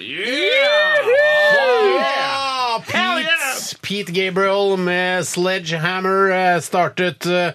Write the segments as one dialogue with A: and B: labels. A: Ja! Ah, Pete, Pete Gabriel med Sledgehammer eh, startet eh,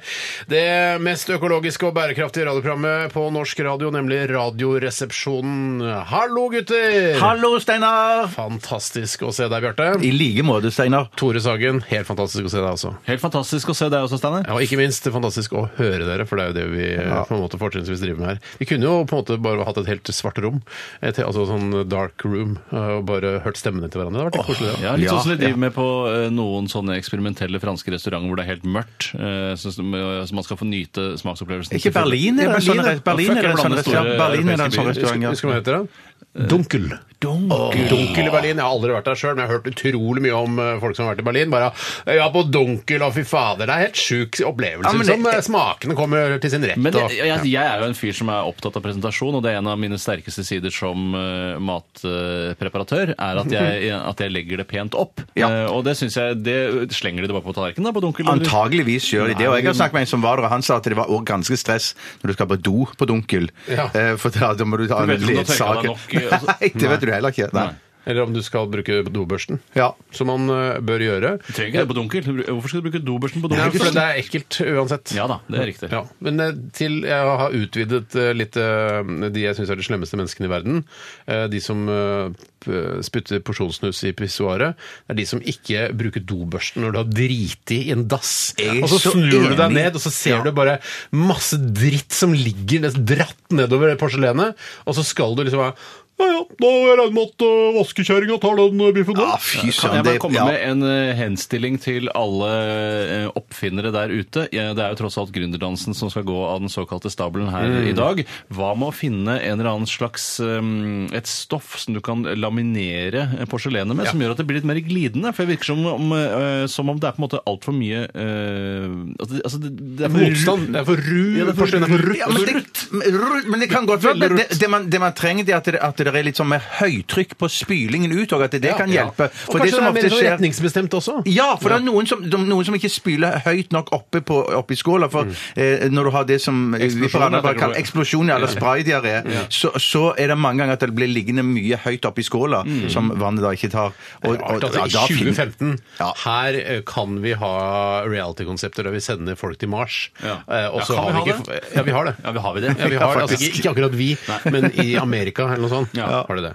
A: det mest økologiske og bærekraftige radioprogrammet på norsk radio, nemlig Radioresepsjonen. Hallo, gutter!
B: Hallo, Steinar!
A: Fantastisk å se deg, Bjarte.
B: I like måte, Steinar.
A: Tore Sagen, helt fantastisk å se deg også.
B: Helt fantastisk å se deg også, Steinar.
A: Ja, og ikke minst fantastisk å høre dere, for det er jo det vi eh, på en måte fortrinnsvis driver med her. Vi kunne jo på en måte bare hatt et helt svart rom, et, altså sånn dark room, eh, og bare hørt stemmene til hverandre. Det hadde vært litt koselig, det.
B: Ja, litt sånn som de driver med på eh, noen sånne eksperimentelle franske restauranter hvor det er helt mørkt, eh, så, så man skal få nyte smaksopplevelsen.
C: Ikke Berlin er det en sånn
B: Berlin,
C: restaurant. Berlin er det en sånn restaurant.
B: ja. Fuck, jeg blander store eh,
C: Berlin er det en sånn
B: europeiske
C: restaurant, ja.
A: Husker du hva det heter? da? Dunkel. Dunkel. Dunkel i Berlin. Jeg har aldri vært der sjøl, men jeg har hørt utrolig mye om eh, folk som har vært i Berlin. Bare ja, på Dunkel, og fy fader. Det er helt sjuk opplevelse.
C: men
A: liksom.
C: det-
A: Smakene kommer til sin rett.
B: Men
A: og,
B: jeg, jeg, jeg er jo en fyr som er opptatt av presentasjon, og det er en av mine sterkeste sider som eh, matpreparatør, er at jeg, at jeg legger det pent opp.
C: Ja.
B: Eh, og det synes jeg, det slenger de det bare på tallerkenen da, på dunkel. eller?
C: Antageligvis gjør de det. Og jeg har snakket med en som var der, og han sa at det var også ganske stress når du skal på do på dunkel.
A: Ja.
C: Eh, For da, da må du ta en
B: vet ikke om du har
C: ledsager.
B: tørket deg nok, altså.
C: Nei, det vet du heller ikke. Nei.
A: Eller om du skal bruke dobørsten.
C: Ja.
A: Som man eh, bør gjøre.
B: Du trenger ikke det på dunkel. Hvorfor skal du bruke dobørsten på
A: Nei, for
B: dunkel?
A: det er ekkelt uansett.
B: Ja da, det er riktig.
A: Ja, men eh, til jeg har utvidet eh, litt eh, de jeg syns er de slemmeste menneskene i verden. eh, De som eh, p- spytter porsjonssnus i pissoaret. Det er de som ikke bruker dobørsten når du har driti i en dass.
C: Jeg er
A: Og så
C: så
A: snur du
C: enig.
A: deg ned, og så ser du bare masse dritt som ligger nesten dratt nedover det porselenet, og så skal du liksom være ja, ja, da regner jeg med at uh, vaskekjerringa tar den eh, biffen
C: Ja,
A: der.
C: Ah, fy
B: Kan jeg
C: søren.
B: bare
C: det-
B: komme
C: ja.
B: med en eh, henstilling til alle eh, oppfinnere der ute? Ja, Det er jo tross alt gründerdansen som skal gå av den såkalte stabelen her
C: Mm.
B: i dag. Hva med å finne en eller annen slags eh, et stoff som du kan laminere eh, porselenet med, som gjør at det blir litt mer glidende? For det virker som om, eh, som om det er på en måte altfor mye eh, at det- Altså, det, det er for
A: Motstand. Det er for ru,
B: Ja, det er for
A: porselen er for rutt.
C: Ja, men, det, rutt, men det kan godt være men det, det, man, det man trenger, det er at det, at det er litt sånn mer høytrykk på spylingen ut, og at det, kan hjelpe.
A: Og
C: For det
A: kanskje
C: som
A: det er
C: ofte
A: mer sånn
C: skjer
A: retningsbestemt også.
C: Ja, for det er noen som, de- noen som ikke spyler høyt nok oppe, på, oppe i skåla. For
A: Mm.
C: eh, når du har det som vi på Randar bare
B: tenker
C: kaller
B: du?
C: eksplosjon ja, eller spraydiaré, så, så er det mange ganger at det blir liggende mye høyt oppe i skåla som vannet da ikke tar. Og,
A: Mm. Rart at
C: ja,
A: i
C: da finner-
A: 2015
C: Ja.
A: her eh, kan vi ha reality-konsepter der vi sender folk til Mars.
B: Ja.
A: Eh, og
B: Ja,
A: så
B: kan vi
A: har vi
B: ha
A: ikke Ja, vi har det.
B: Ja, vi har vi det?
A: Ja, vi har, det. altså, ikke,
C: faktisk.
A: ikke akkurat vi, men i Amerika eller noe sånt
B: Ja.
A: har de det.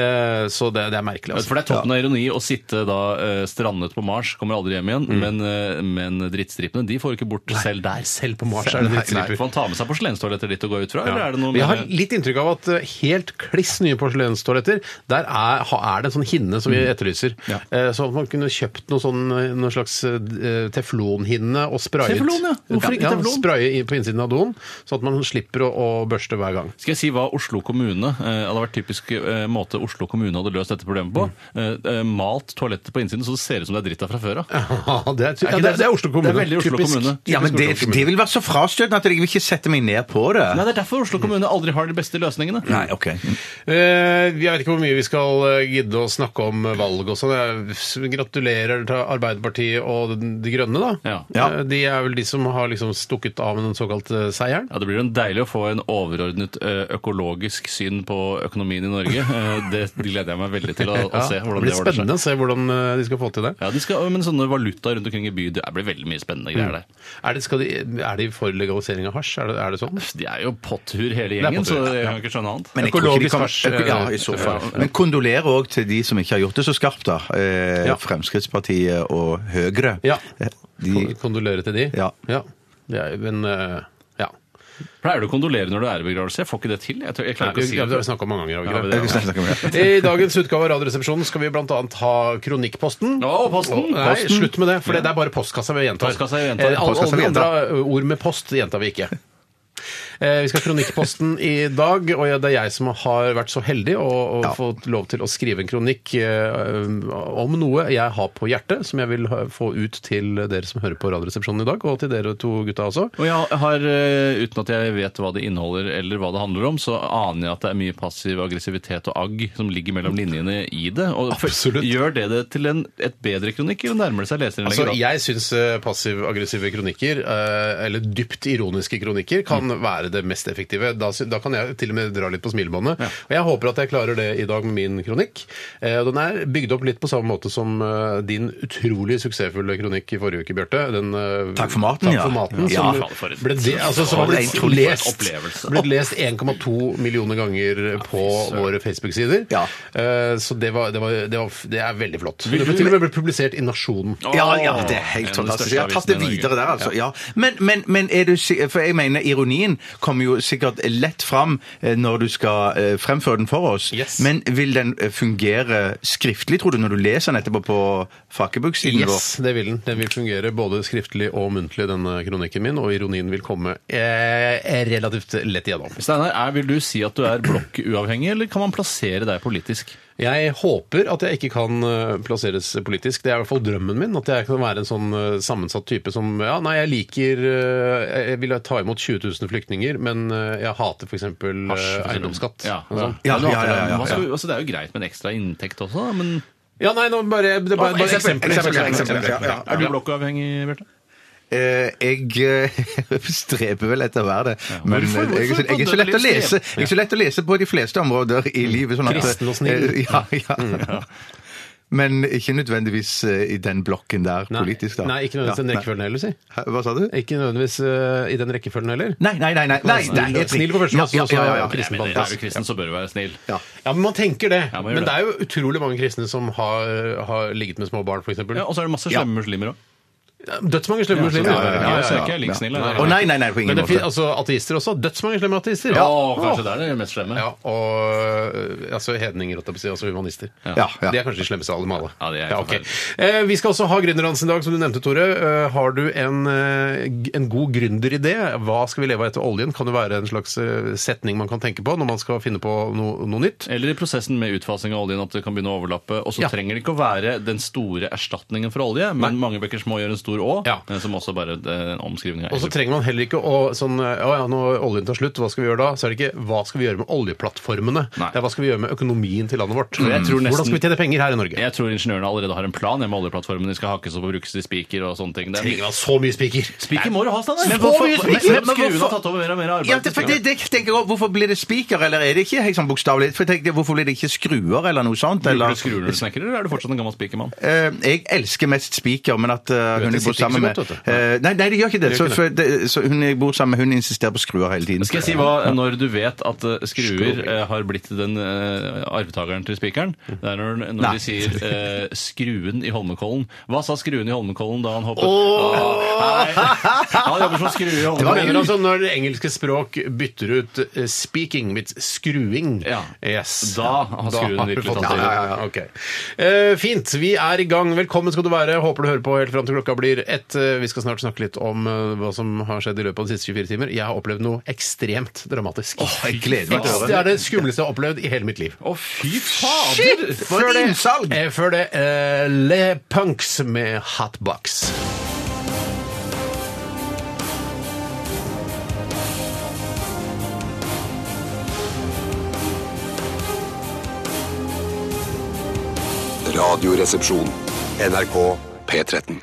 A: Eh, så det, det er merkelig. Altså.
B: For det er toppen av ironi å sitte da eh, strandet på Mars, kommer aldri hjem
C: Mm.
B: igjen, men, eh, men drittstripene de får ikke bort selv der.
A: Selv på Mars er det
B: Nei,
A: drittstriper.
B: Får han ta med seg porselenstoaletter dit og gå ut fra, eller er det noe
A: Men jeg har
B: med-
A: litt inntrykk av at eh, helt kliss nye porselenstoaletter, der er, ha- er det en sånn hinne som vi etterlyser.
B: Mm. Ja.
A: Eh, Så at man kunne kjøpt noe, sånn, eh, noe slags eh, teflonhinne og sprayet
B: Teflon, ja. Hvorfor ikke
A: Ja,
B: teflon?
A: Spraye i- på innsiden av doen, sånn at man slipper å, å børste hver gang.
B: Skal jeg si hva Oslo kommune eh, hadde vært typisk eh, måte Oslo kommune hadde løst dette problemet på?
A: Mm.
B: Eh, eh, malt toalettet på innsiden så det ser ut som det er dritt der fra før av.
A: det, er, ty-
B: Er ikke
A: ja, det, er- det er Oslo kommune.
B: Det er veldig Oslo
A: Typisk-
B: kommune.
A: typisk
C: Ja, men det,
A: Oslo kommune.
C: det vil være så frastøtende at jeg vil ikke sette meg ned på det.
B: Nei, Det er derfor Oslo kommune aldri har de beste løsningene.
C: Nei, ok.
A: Eh, Jeg vet ikke hvor mye vi skal eh, gidde å snakke om valg og sånn. Jeg s- Gratulerer til Arbeiderpartiet og De Grønne, da.
B: Ja.
C: Ja.
A: Eh, De er vel de som har liksom stukket av med den såkalte seieren.
B: Ja, Det blir jo deilig å få en overordnet eh, økologisk syn på økonomien i Norge. Eh, Det gleder jeg meg veldig til å, å se.
A: det
B: hvordan
A: blir
B: det ordner seg.
A: spennende å se hvordan eh, de skal få til det.
B: Ja, de skal, men sånne valuta rundt omkring i by, det blir veldig mye spennende
A: Mm.
B: greier der.
A: Er det, skal de, er de for legalisering av hasj? Er det, er det sånn?
B: De er jo potthur hele
A: er
B: gjengen,
A: potthur,
B: så jeg kan ikke skjønne annet.
C: Men jeg tror ikke de
A: Økologisk
C: kommer-
A: hasj,
C: øko- Ja,
A: eh,
C: i så fall.
A: ja.
C: Men kondolerer òg til de som ikke har gjort det så skarpt, da. Eh,
A: Ja.
C: Fremskrittspartiet og Høyre.
A: Ja.
C: Eh,
A: Kon-
C: De,
A: Kondolerer til de?
C: Ja.
A: Det er, jo- men eh, ja.
B: Pleier du å kondolere når du er i begravelse? Jeg får ikke det til. Jeg, tør, jeg
A: Nei,
B: klarer
A: vi,
B: ikke
A: ja,
B: å
A: vi
B: si
A: har snakka om mange ganger. har vi
B: Ja,
A: ikke
B: det
A: det?
B: er
C: vi snakker om det.
A: I dagens utgave av Radioresepsjonen skal vi bl.a. ha Kronikkposten.
B: Å, posten!
A: Nei,
B: Posten.
A: slutt med det, for det, det er bare postkassa vi gjentar.
B: Postkassa vi gjentar.
A: Eh, alle-
C: Postkassa vi
A: alle
C: gjentar.
A: andre ord med post gjentar vi ikke. Eh, Vi skal ha kronikkposten i dag, og jeg- det er jeg som har vært så heldig å, å fått lov til å skrive en kronikk eh, om noe jeg har på hjertet, som jeg vil ha- få ut til dere som hører på Radioresepsjonen i dag, og til dere to gutta også.
B: Og jeg har, eh, uten at jeg vet hva det inneholder eller hva det handler om, så aner jeg at det er mye passiv aggressivitet og agg som ligger mellom linjene i det. Og
A: Absolutt.
B: Gjør det det til en, et bedre kronikk, eller nærmer det seg leserinnlegget?
A: Altså,
B: da?
A: jeg syns passiv-aggressive kronikker, eh, eller dypt ironiske kronikker, kan
B: Mm.
A: være det mest effektive. Da, sy- da kan jeg til og med dra litt på smilebåndet. Og jeg håper at jeg klarer det i dag med min kronikk. Eh, og den er bygd opp litt på samme måte som eh, din utrolig suksessfulle kronikk i forrige uke, Bjarte. Den, eh,
C: Takk for maten,
A: Takk
C: ja.
A: for maten
B: Ja,
A: som
B: faen, for et-
A: ble de, altså, som har
B: for en
A: blitt
B: utrolig
A: lest,
B: opplevelse.
A: blitt lest 1,2 millioner ganger på våre Facebook-sider.
C: Ja.
A: Eh, så det, var, det, var, det, var, det er veldig flott. Det ble til og med blitt publisert i Nasjonen.
C: Ja, ja, det er
B: En av de
C: helt fantastisk.
B: største
C: Jeg har tatt det
B: avisene i Norge.
C: videre der, altså. Ja. Men, men, men er du si- For jeg mener, ironien kommer jo sikkert lett fram eh, når du skal eh, fremføre den for oss.
A: Yes.
C: Men vil den eh, fungere skriftlig, tror du, når du leser den etterpå på fakkebuksiden vår?
A: Yes, det vil den. Den vil fungere både skriftlig og muntlig, denne kronikken min, og ironien vil komme eh, relativt lett igjennom.
B: Steinar, er, vil du si at du er blokkuavhengig, eller kan man plassere deg politisk?
A: Jeg håper at jeg ikke kan eh, plasseres politisk. Det er i hvert fall drømmen min. At jeg kan være en sånn eh, sammensatt type som Ja, nei, jeg liker eh, Jeg vil ta imot 20 000 flyktninger, men eh, jeg hater f.eks. eiendomsskatt.
B: Ja,
A: Og sånn.
C: Eh, Ja,
B: Men du
C: ja,
B: hater
C: ja,
B: det.
C: ja,
B: Hva skal vi- Altså, det er jo greit med en ekstra inntekt også, da, men
A: ja, nei, nå bare, det er bare, bare eksempel.
C: eksempel, eksempel, ja, ja.
B: Er du blokkuavhengig, Bjarte?
C: Eh, jeg eh, streber vel etter å være det. Men
B: hvorfor-
C: eh, jeg, er så-
B: hvorfor
C: jeg er så lett å
B: litt
C: lese Jeg er så lett å lese på de fleste områder i livet. Sånn at,
A: Kristen og snill.
C: eh, Ja, ja. Men ikke nødvendigvis eh, i den blokken der
A: Nei,
C: politisk, da.
A: nei, ikke nødvendigvis
C: Ja,
A: den
C: nei.
A: rekkefølgen heller, si.
C: Hæ, Hva sa du?
A: Ikke nødvendigvis eh, i den rekkefølgen heller.
C: Nei, nei, nei. nei, nei,
A: Snill-
C: nei helt
A: snill på første
C: riktig.
A: plass,
C: Ja,
A: og så
C: ja, ja, ja.
A: kristen
B: Nei, men Er du kristen, så bør du være snill.
C: Ja.
A: Ja, men man tenker det.
B: Ja, man gjør
A: men
B: det.
A: det er jo utrolig mange kristne som har, eh, har ligget med små barn, f.eks.
B: Ja, og så er det masse slemme muslimer òg.
A: Dødsmange slemme muslimer.
B: Ja, ja, ja, ja. Så er ikke jeg
C: Ja.
B: like snill.
C: Å nei, nei, nei, på
A: Men
C: ingen
A: det finnes
C: måte.
A: altså, ateister også. Dødsmange slemme ateister.
B: Ja, kanskje det er det mest slemme.
A: Ja, og øh, altså, hedninger, holdt jeg på å si, altså humanister.
C: Ja, ja.
A: Det er kanskje de slemmeste av dem alle.
B: Ja, det er
A: ok. eh, vi skal også ha Gründerdansen i dag, som du nevnte, Tore. Eh, har du en, eh, g- en god gründeridé? Hva skal vi leve av etter oljen? Kan det være en slags eh, setning man kan tenke på når man skal finne på no, noe nytt?
B: Eller i prosessen med utfasing av oljen at det kan begynne å overlappe. Og så
A: Ja.
B: trenger det ikke å være den store erstatningen for olje, men mange bøker små gjør en stor å,
A: Ja.
B: men som også bare eh, en omskrivning
A: Og så
B: av
A: trenger man heller ikke å sånn Å ja, når oljen tar slutt, hva skal vi gjøre da? Så er det ikke hva skal vi gjøre med oljeplattformene?
B: Nei. Mm.
A: Det er hva skal vi gjøre med økonomien til landet vårt?
B: jeg tror nesten-
A: Hvordan skal vi tjene penger her i Norge?
B: jeg tror ingeniørene allerede har en plan. Jeg med oljeplattformen de skal hakkes opp og brukes til spiker og sånne ting. Det er mye-
A: Ingen har så mye spiker!
B: Spiker må du ha, Steinar!
A: Men hvorfor-
B: Men-
A: men-
B: men-
A: men
B: Skruen har
A: hvorfor-
B: tatt over mer og mer arbeid.
C: Ja, det, for det, det tenker jeg også, Hvorfor blir det spiker, eller er det ikke helt sånn bokstavelig? For jeg tenker, Hvorfor blir det ikke skruer, eller noe sånt?
B: Bruker
C: Eller?
B: du skruer når du snekrer, eller er du fortsatt en gammel spikermann?
C: Eh, jeg elsker mest Spiker, men at eh, hun
A: det
C: jeg
A: sitter
C: bor
A: ikke så
C: sammen med
A: godt, vet du.
C: Eh, Nei, nei, det gjør ikke det.
A: Det gjør
C: Så,
A: ikke
C: for, det så hun jeg bor sammen med, hun insisterer på skruer hele tiden.
B: Skal jeg si hva når du vet at eh, skruer eh, har blitt den eh, arvtakeren til spikeren? Det er når, når
C: Nei.
B: de sier eh, 'skruen i Holmenkollen'. Hva sa skruen i Holmenkollen da han hoppet? Ah, Nei. Han jobber som skrue i
A: Hva mener du
B: Holmenkollen.
A: altså når det engelske språk bytter ut eh, 'speaking' med 'skruing'?
B: Ja.
A: Yes.
B: Da har skruen
A: du
B: virkelig
A: fått
B: tatt
A: det. Ja, ja, ja. Ok. Eh, fint. Vi er i gang. Velkommen skal du være. Håper du hører på helt fram til klokka blir ett. Eh, Vi skal snart snakke litt om eh, hva som har skjedd i løpet av de siste 24 timer. Jeg har opplevd noe ekstremt dramatisk.
C: Jeg gleder meg til å høre
A: det er det skumleste jeg har opplevd i hele mitt liv.
B: Å, fy fader!
C: For et innsalg!
A: Eh, Før det eh, Le Punks med Hotbox.
D: Radioresepsjon. NRK P13.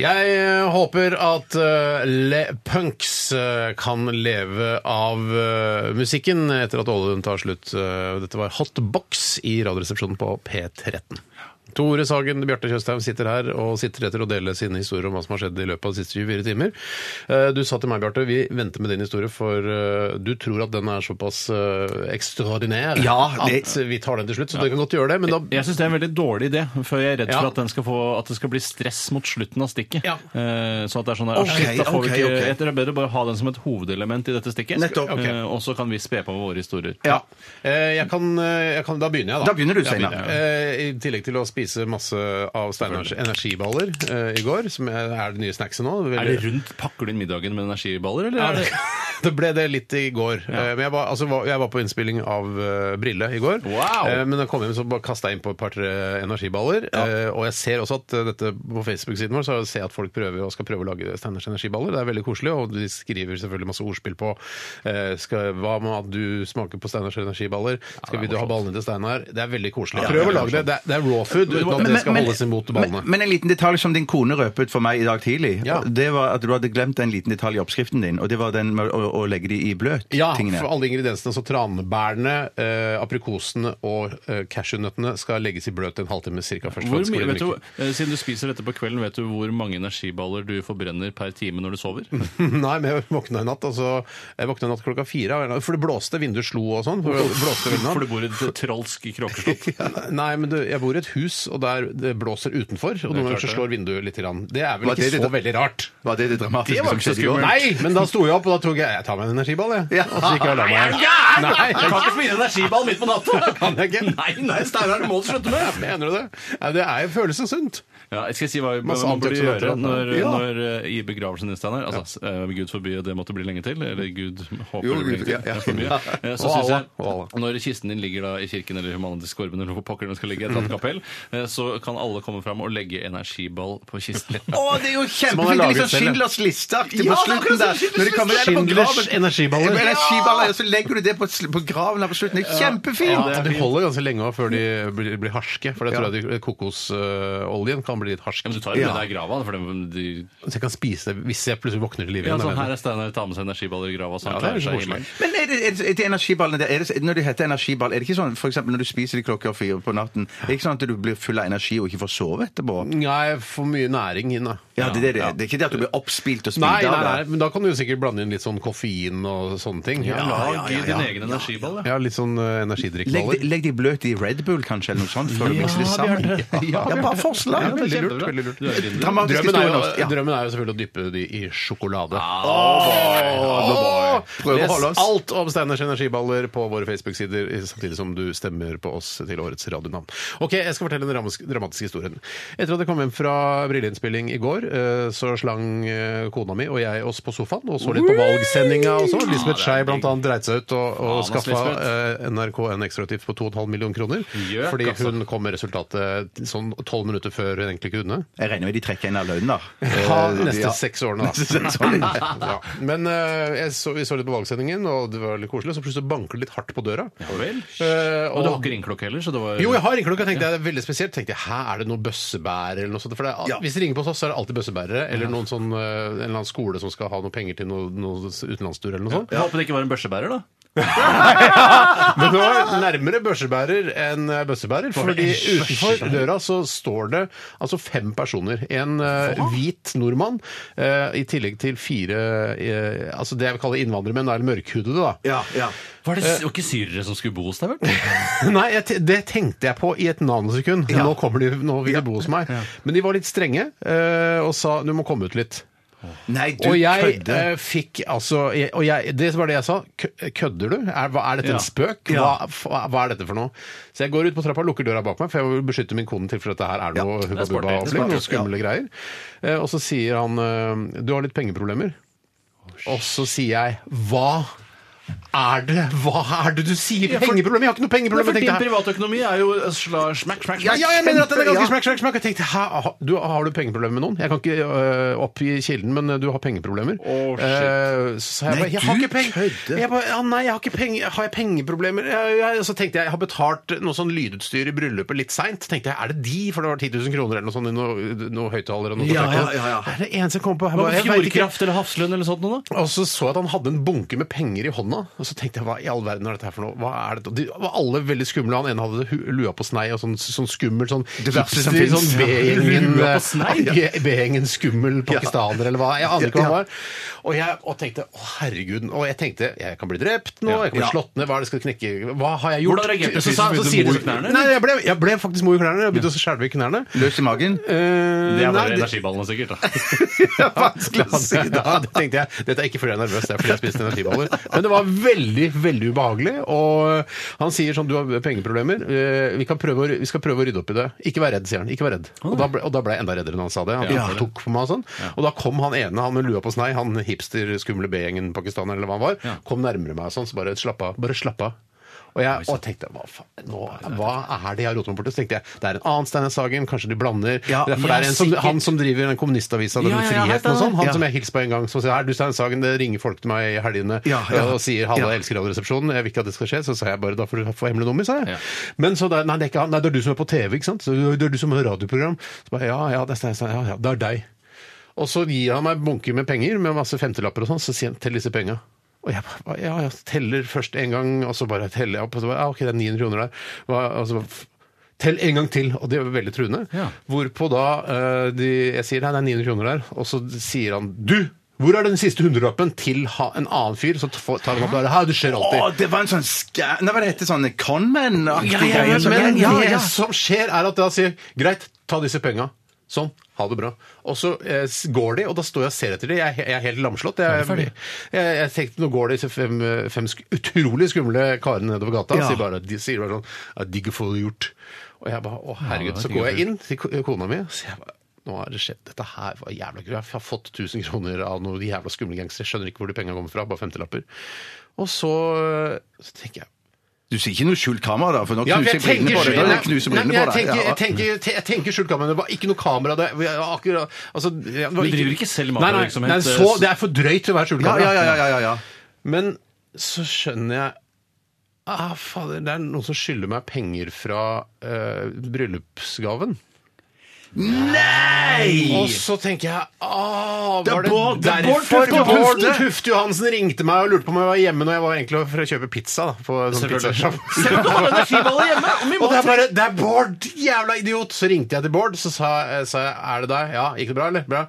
A: Jeg eh, håper at eh, Le Punks eh, kan leve av eh, musikken etter at oljen tar slutt. Eh, dette var Hotbox i Radioresepsjonen på P13. Tore Sagen og Bjarte Tjøstheim sitter her og sitter etter å dele sine historier om hva som har skjedd i løpet av de siste 24 timer. Eh, Du sa til meg, Bjarte, vi venter med din historie, for eh, du tror at den er såpass eh, ekstraordinær
C: Ja, det-
A: at vi tar den til slutt. Så du kan godt gjøre det, men da
B: Jeg syns det er en veldig dårlig idé, for jeg er redd
A: Ja.
B: for at, den skal få, at det skal bli stress mot slutten av stikket.
A: Ja.
B: Eh, så at det er sånn der,
C: Ok,
B: shit, da får
C: ok,
B: vi ikke,
C: ok.
B: Jeg tror Det er bedre å bare ha den som et hovedelement i dette stikket,
C: Nettopp.
B: Eh,
A: Ok.
B: og så kan vi spe på med våre historier.
A: Ja. Eh, Jeg kan, eh, jeg kan, da begynner jeg, da.
C: Da begynner du,
A: Da
C: Steinar.
A: begynner jeg. Eh, I tillegg til å spise masse av Steinars energiballer eh, i går, som er er det nye snackset nå. Veldig-
B: Er det rundt, Pakker du inn middagen med energiballer, eller?
A: Ja,
B: er
A: det-
B: det-
A: det ble det litt i går. Eh, Men jeg var, altså, var- jeg var på innspilling av eh, Brille i går.
B: Wow!
A: Eh, men da jeg kom hjem, så bare kasta jeg inn på et par-tre energiballer. Eh, og jeg ser også at eh, dette på Facebook-siden vår, så ser jeg at folk prøver og skal prøve å lage Steiners energiballer. Det er veldig koselig, og de skriver selvfølgelig masse ordspill på eh, skal, Hva med at du smaker på Steiners energiballer? Skal vi du ha ballene til Steinar? Det er veldig koselig. Prøv å lage det. Det er, det er raw food uten at det skal holdes imot ballene.
C: Men, men en liten detalj som din kone røpet for meg i dag tidlig,
A: Ja.
C: det var at du hadde glemt en liten detalj i oppskriften din, og det var den med å, å legge de i bløt.
A: Ja,
C: tingene.
A: for alle ingrediensene. Så tranbærene, eh, aprikosene og eh, cashewnøttene skal legges i bløt en halvtime cirka først.
B: Hvor
A: Faktisk,
B: mye,
A: fordi de
B: vet du,
A: ikke-
B: eh, siden du spiser dette på kvelden, vet du hvor mange energiballer du forbrenner per time når du sover?
A: Nei, men jeg våkna i natt, og så jeg våkna i natt klokka fire. av en eller annen- For det blåste, vinduet slo og sånn. For det blåste veldig
B: For du
A: natt.
B: bor i et trolsk kråkeslott.
A: Ja, Nei, men du, jeg bor i et hus, og der det blåser utenfor. Og noen ganger så slår vinduet litt. Grann. Det er vel
C: Var
A: ikke
C: det
A: så
C: det-
A: veldig rart.
C: Var det det dramatiske
B: var
C: som
B: jo ikke så
C: skjedde i går?
B: skummelt.
A: Nei, men da sto jeg opp, og da tok jeg Jeg tar meg en energiball, jeg.
C: Ja.
A: Og så gikk jeg og la meg. Nei, jeg
B: ikke smile energiball midt på natta!
A: kan jeg ikke.
B: Nei, nei, Steinar, det må du slutte med!
A: Mener du det? Nei, det er jo følelsen sunt.
B: Ja, jeg skal si hva man
A: Masse
B: burde
A: antioksidanter,
B: gjøre
A: da.
B: når,
A: Ja.
B: når, eh, i begravelsen din, Steinar. Altså, eh, Gud forby at det måtte bli lenge til. Eller Gud håper
C: Jo,
B: det blir
C: Gud,
B: lenge til.
C: ja, ja.
B: Det er for mye. Eh, Så
A: Og
B: synes
A: Allah, og Allah.
B: jeg, når kisten din ligger da i kirken eller humanitisk skorben, eller hvor pokker den skal ligge i et eller annet kapell, eh, så kan alle komme fram og legge energiball på kisten.
C: Å, det er jo
A: man har
C: kjempefint! Det
A: laget
C: er litt sånn
A: selv, ja.
C: Schindlers listeaktig
B: Ja,
C: på
B: det er akkurat
C: slutten der.
B: som Schindlers
C: Når de kommer der på
A: Schindlers
C: graven.
A: energiballer.
C: Energiballer, og så legger du det på, sl- på graven her på slutten. Det er
A: Ja,
C: kjempefint!
A: de holder ganske lenge også før de blir, blir harske, for det tror jeg de- kokosoljen kan bli litt harsk.
B: Ja, men du tar jo med deg i grava, for de, de
A: Så jeg kan spise det hvis jeg plutselig våkner til live
B: ja,
A: igjen.
B: sånn,
A: jeg
B: Her
A: vet
B: er Steinar, tar med seg energiballer i grava. Så han
A: Ja, det er
B: klarer
A: jo
B: seg i
A: koselig.
B: himmelen.
C: Men er det, er det, er det energiballene der, er det, Når det heter energiball, er det ikke sånn for eksempel når du spiser de klokka fire på natten, er det ikke sånn at du blir full av energi og ikke får sove etterpå?
A: det. Nei, for mye næring inn, da.
C: Ja, det, er det, det, det er ikke det at du blir oppspilt og spilt
A: Nei, nei,
C: av
A: nei,
C: det.
A: men da kan du jo sikkert blande inn litt sånn koffein og sånne ting. Ja,
B: Lag din egen energiball, da.
A: ja litt sånn uh,
C: Legg, de-
A: energidrikkballer.
C: legg de bløt i Red Bull, kanskje, eller noe sånt, før du mikser det sammen. Ja, ja, bare forslag.
B: Ja, det er kjempebra. Du er
C: Dramatisk
B: gründer.
A: Drømmen er,
C: historie
A: jo, Ah,
C: norsk. Ja.
A: drømmen er jo selvfølgelig å dyppe de i sjokolade.
C: Åh, Prøv å
A: Ah, Les
C: holde oss.
A: alt om Steiners energiballer på våre Facebook-sider, samtidig som du stemmer på oss til årets radionavn. Ok, Jeg skal fortelle den dramatisk- dramatiske historien. Etter at jeg kom hjem fra brilleinnspilling i går, eh, så slang eh, kona mi og jeg oss på sofaen og så litt på valgsendinga også. Lisbeth Skei bl.a. dreit seg ut og, og
B: Faen, ass,
A: skaffa eh, NRK en ekstrautgift på 2,5 millioner kroner.
B: Gjøk,
A: Fordi
B: altså.
A: hun kom med resultatet sånn 12 minutter før hun egentlig kunne.
C: Jeg regner med de trekker inn av lønnen, da.
A: Ha
C: Eh,
A: neste
C: ja.
A: seks årene, da. ja. Men eh, jeg så, vi så litt på valgsendingen, og det var litt koselig. og Så plutselig banker det litt hardt på døra.
B: Ja vel.
A: Eh,
B: Og du har ikke ringeklokke heller, så det var
A: jo, jeg har ringeklokke. Jeg tenkte, det er veldig spesielt. tenkte jeg, Hæ, er det noen bøssebærer eller noe sånt? For det er, Hvis de ringer på oss, så er det alltid bøssebærere. Eller noen sånn, eh, en eller annen skole som skal ha noe penger til noe, noe utenlandstur eller noe sånt.
B: Jeg Håper det ikke var en børsebærer, da.
A: Men det var nærmere børsebærer enn eh, bøssebærer. Fordi utenfor døra så står det altså fem personer. En eh, hvit nordmann, eh, i tillegg til fire eh, altså det jeg vil kalle innvandrermenn, eller mørkhudede, da.
C: Ja, ja.
B: Var det var ikke syrere som skulle bo hos deg, vel?
A: Nei, jeg, te- det tenkte jeg på i et nanosekund. Nå kommer de, nå vil de bo hos meg. Men de var litt strenge eh, og sa du må komme ut litt.
C: Nei, du
A: Og jeg
C: kødder.
A: eh, fikk altså jeg, og jeg, Det var det jeg sa. Kø- Kødder du? Er, hva, er dette
B: Ja.
A: en spøk? Hva, f- hva er dette for noe? Så jeg går ut på trappa og lukker døra bak meg, for jeg vil beskytte min kone til for dette her er noe
B: det er
A: hubba
B: smart,
A: bubba
B: det er smart,
A: opplegg, noe skumle greier. Eh, Og så sier han eh, du har litt pengeproblemer.
B: Oh,
A: Og så sier jeg hva? Er det, hva er det du sier?
B: for-
A: Pengeproblemer? Jeg har ikke noe pengeproblem.
B: for
A: Jeg
B: din
A: tenkte,
B: privatøkonomi er jo sla, smack, smack,
A: ja,
B: smack.
A: ja, jeg mener at den er
C: Kjempe-
A: ganske
C: ja.
A: smekk, smekk, smekk. Jeg tenkte, hæ, ha- du, Har du pengeproblemer med noen? Jeg kan ikke øh, oppgi kilden, men øh, du har pengeproblemer.
B: Å, shit.
A: Eh, så sa jeg
C: Nei,
A: bare, jeg
C: du
A: har ikke
C: kødder.
A: penger. Jeg bare, ja, nei, jeg har ikke penger. Har jeg pengeproblemer? Jeg, jeg, så tenkte jeg, jeg har betalt noe sånn lydutstyr i bryllupet litt seint. Tenkte jeg, er det de? For det var 10 000 kroner eller noe sånt i noe, noe høyttaler og noe
C: Ja,
A: forsterker.
C: ja, ja, ja.
A: Er det eneste jeg kom på? Jeg
B: Hva
A: bare,
B: med
A: jeg vet ikke.
B: Fjordkraft eller Hafslund eller sånt noe, da?
A: Og så så jeg at han hadde en bunke med penger i hånda. Og så tenkte jeg, hva i all verden er dette her for noe? Hva er dette? De var alle veldig skumle. Han ene hadde hu- lua på snei og sånn, sånn skummel sånn
C: Det verste som
A: hipster,
C: finnes.
A: Sånn B-gjengen
B: Lua på snei?
A: eh, B-gjengen skummel pakistaner eller hva. Jeg aner ikke hva han
C: Ja.
A: var. Og jeg og tenkte, å herregud. Og jeg tenkte, jeg kan bli drept nå, jeg kan bli
C: Ja.
A: slått ned, hva er det skal knekke? Hva har jeg gjort?
B: Hvordan reagerte du?
A: Så sa-
B: Begynte
A: så
B: du å
A: sier
B: mo
A: de-
B: i knærne,
A: Nei, jeg ble, jeg ble faktisk mo i knærne. Jeg begynte å skjelve i knærne.
C: Løs i magen?
A: Eh,
B: Det
A: nei,
B: er bare energiballene, sikkert. da.
C: Vanskelig å si,
A: ja, det tenkte jeg. Dette er ikke fordi jeg er nervøs, det er fordi jeg spiste energiballer. Men det var var veldig, veldig ubehagelig. Og han sier sånn Du har pengeproblemer. eh, Vi, kan prøve å, vi skal prøve å rydde opp i det. Ikke vær redd, sier han. Ikke vær redd. Og da ble, og da ble jeg enda reddere når han sa det. Han
B: Ja.
A: tok på meg og sånn. Og da kom han ene, han med lua på snei, han hipster, skumle B-gjengen pakistaner eller hva han var,
B: Ja.
A: kom nærmere meg og sånn. Så bare slapp av. Bare slapp av. Og jeg og tenkte hva, faen, nå, hva er det jeg har rotet meg bort i? Så tenkte jeg det er en annen Steinar Sagen, kanskje de blander.
C: Ja,
A: det er, for
C: ja,
A: det er en som,
C: sikkert.
A: han som driver den kommunistavisa, den
C: Ja, ja, ja, helt
A: friheten og sånn, han
C: enig.
A: som
C: Ja.
A: jeg hilste på en gang, som sier her, du Steinar Sagen, det ringer folk til meg i helgene
C: Ja, ja.
A: og sier halla,
C: Ja.
A: jeg elsker Radioresepsjonen, jeg vil ikke at det skal skje, så sa jeg bare da får du få hemmelig nummer, sa jeg.
B: Ja.
A: Men så da, nei, det er ikke han, nei, det er du som er på TV, ikke sant? Så det er du som har radioprogram. Så bare ja, ja, det er Steinar Sagen, ja, ja, det er deg. Og så gir han meg bunker med penger, med masse femtelapper og sånn, så sier han tell disse penga. Og jeg bare, ja, jeg teller først en gang, og så bare teller jeg opp, og så bare, ja, ok, det er 900 kroner der. Hva, og så bare, f- Tell en gang til, og det var veldig truende.
B: Ja.
A: Hvorpå da eh, de, jeg sier nei, det er 900 kroner der, og så sier han du! Hvor er den siste hundrelappen til ha, en annen fyr? Så t- får- tar han opp der. Hæ, det skjer
C: Å,
A: alltid.
C: det var en sånn skæ... Nei, hva det heter sånn conman-aktig
A: Ja, ja,
C: greie.
A: ja,
C: som-
A: men
C: ja,
A: det
C: ja.
A: som skjer er at da sier greit, ta disse penga. Sånn, ha det bra. Og så eh, s- går de, og da står jeg og ser etter dem. Jeg, er he- jeg er helt lamslått. Jeg, jeg, jeg, tenkte nå går disse fem, eh, fem sk utrolig skumle karene nedover gata.
C: Ja.
A: Sier bare, de sier bare sånn ja, 'Digg å få det gjort'. Og jeg bare 'Å, herregud'.
B: det var
A: så
B: digg å
A: går
B: få
A: jeg inn til ko- kona mi, og sier jeg bare nå har det skjedd. Dette her var jævla gøy. Jeg har fått 1000 kroner av noen jævla skumle gangstere. Jeg Skjønner ikke hvor de penga kommer fra. Bare 50-lapper. Og så, så tenker jeg
C: Du sier ikke noe skjult kamera, da, for nå
A: ja, for
C: knuser
A: jeg
C: jeg
A: tenker
C: brillene på deg.
A: skjult-
C: Da knuser
A: Nei, men
C: brillene på
A: jeg
C: deg.
A: tenker-
C: Ja.
A: Jeg tenker, te- jeg tenker skjult kamera. Det var ikke noe kamera der. Jeg var akkurat- altså, jeg var
B: Du driver ikke selv med
A: Nei, nei,
B: virksomhet,
A: nei,
B: eh,
A: så, det er for drøyt til å være skjult
C: Ja,
A: kamera.
C: ja, ja, ja, ja, ja.
A: Men så skjønner jeg Ah, fader, det er noen som skylder meg penger fra eh, bryllupsgaven.
C: Nei!
A: Og så tenker jeg ah,
C: Det er
A: Var det
C: Bård- det er Bård
A: derfor
C: Tufte
A: Bård
C: Johansen.
A: Tufte Johansen ringte meg og lurte på om jeg var hjemme når jeg var egentlig for å kjøpe pizza? da På sånn
B: Selvfølgelig.
A: pizzasjapp.
E: hjemme, og vi
A: Og
E: må
A: det er bare Det er Bård! Jævla idiot! Så ringte jeg til Bård, så sa, eh, sa jeg Er det deg? Ja. Gikk det bra, eller? Bra.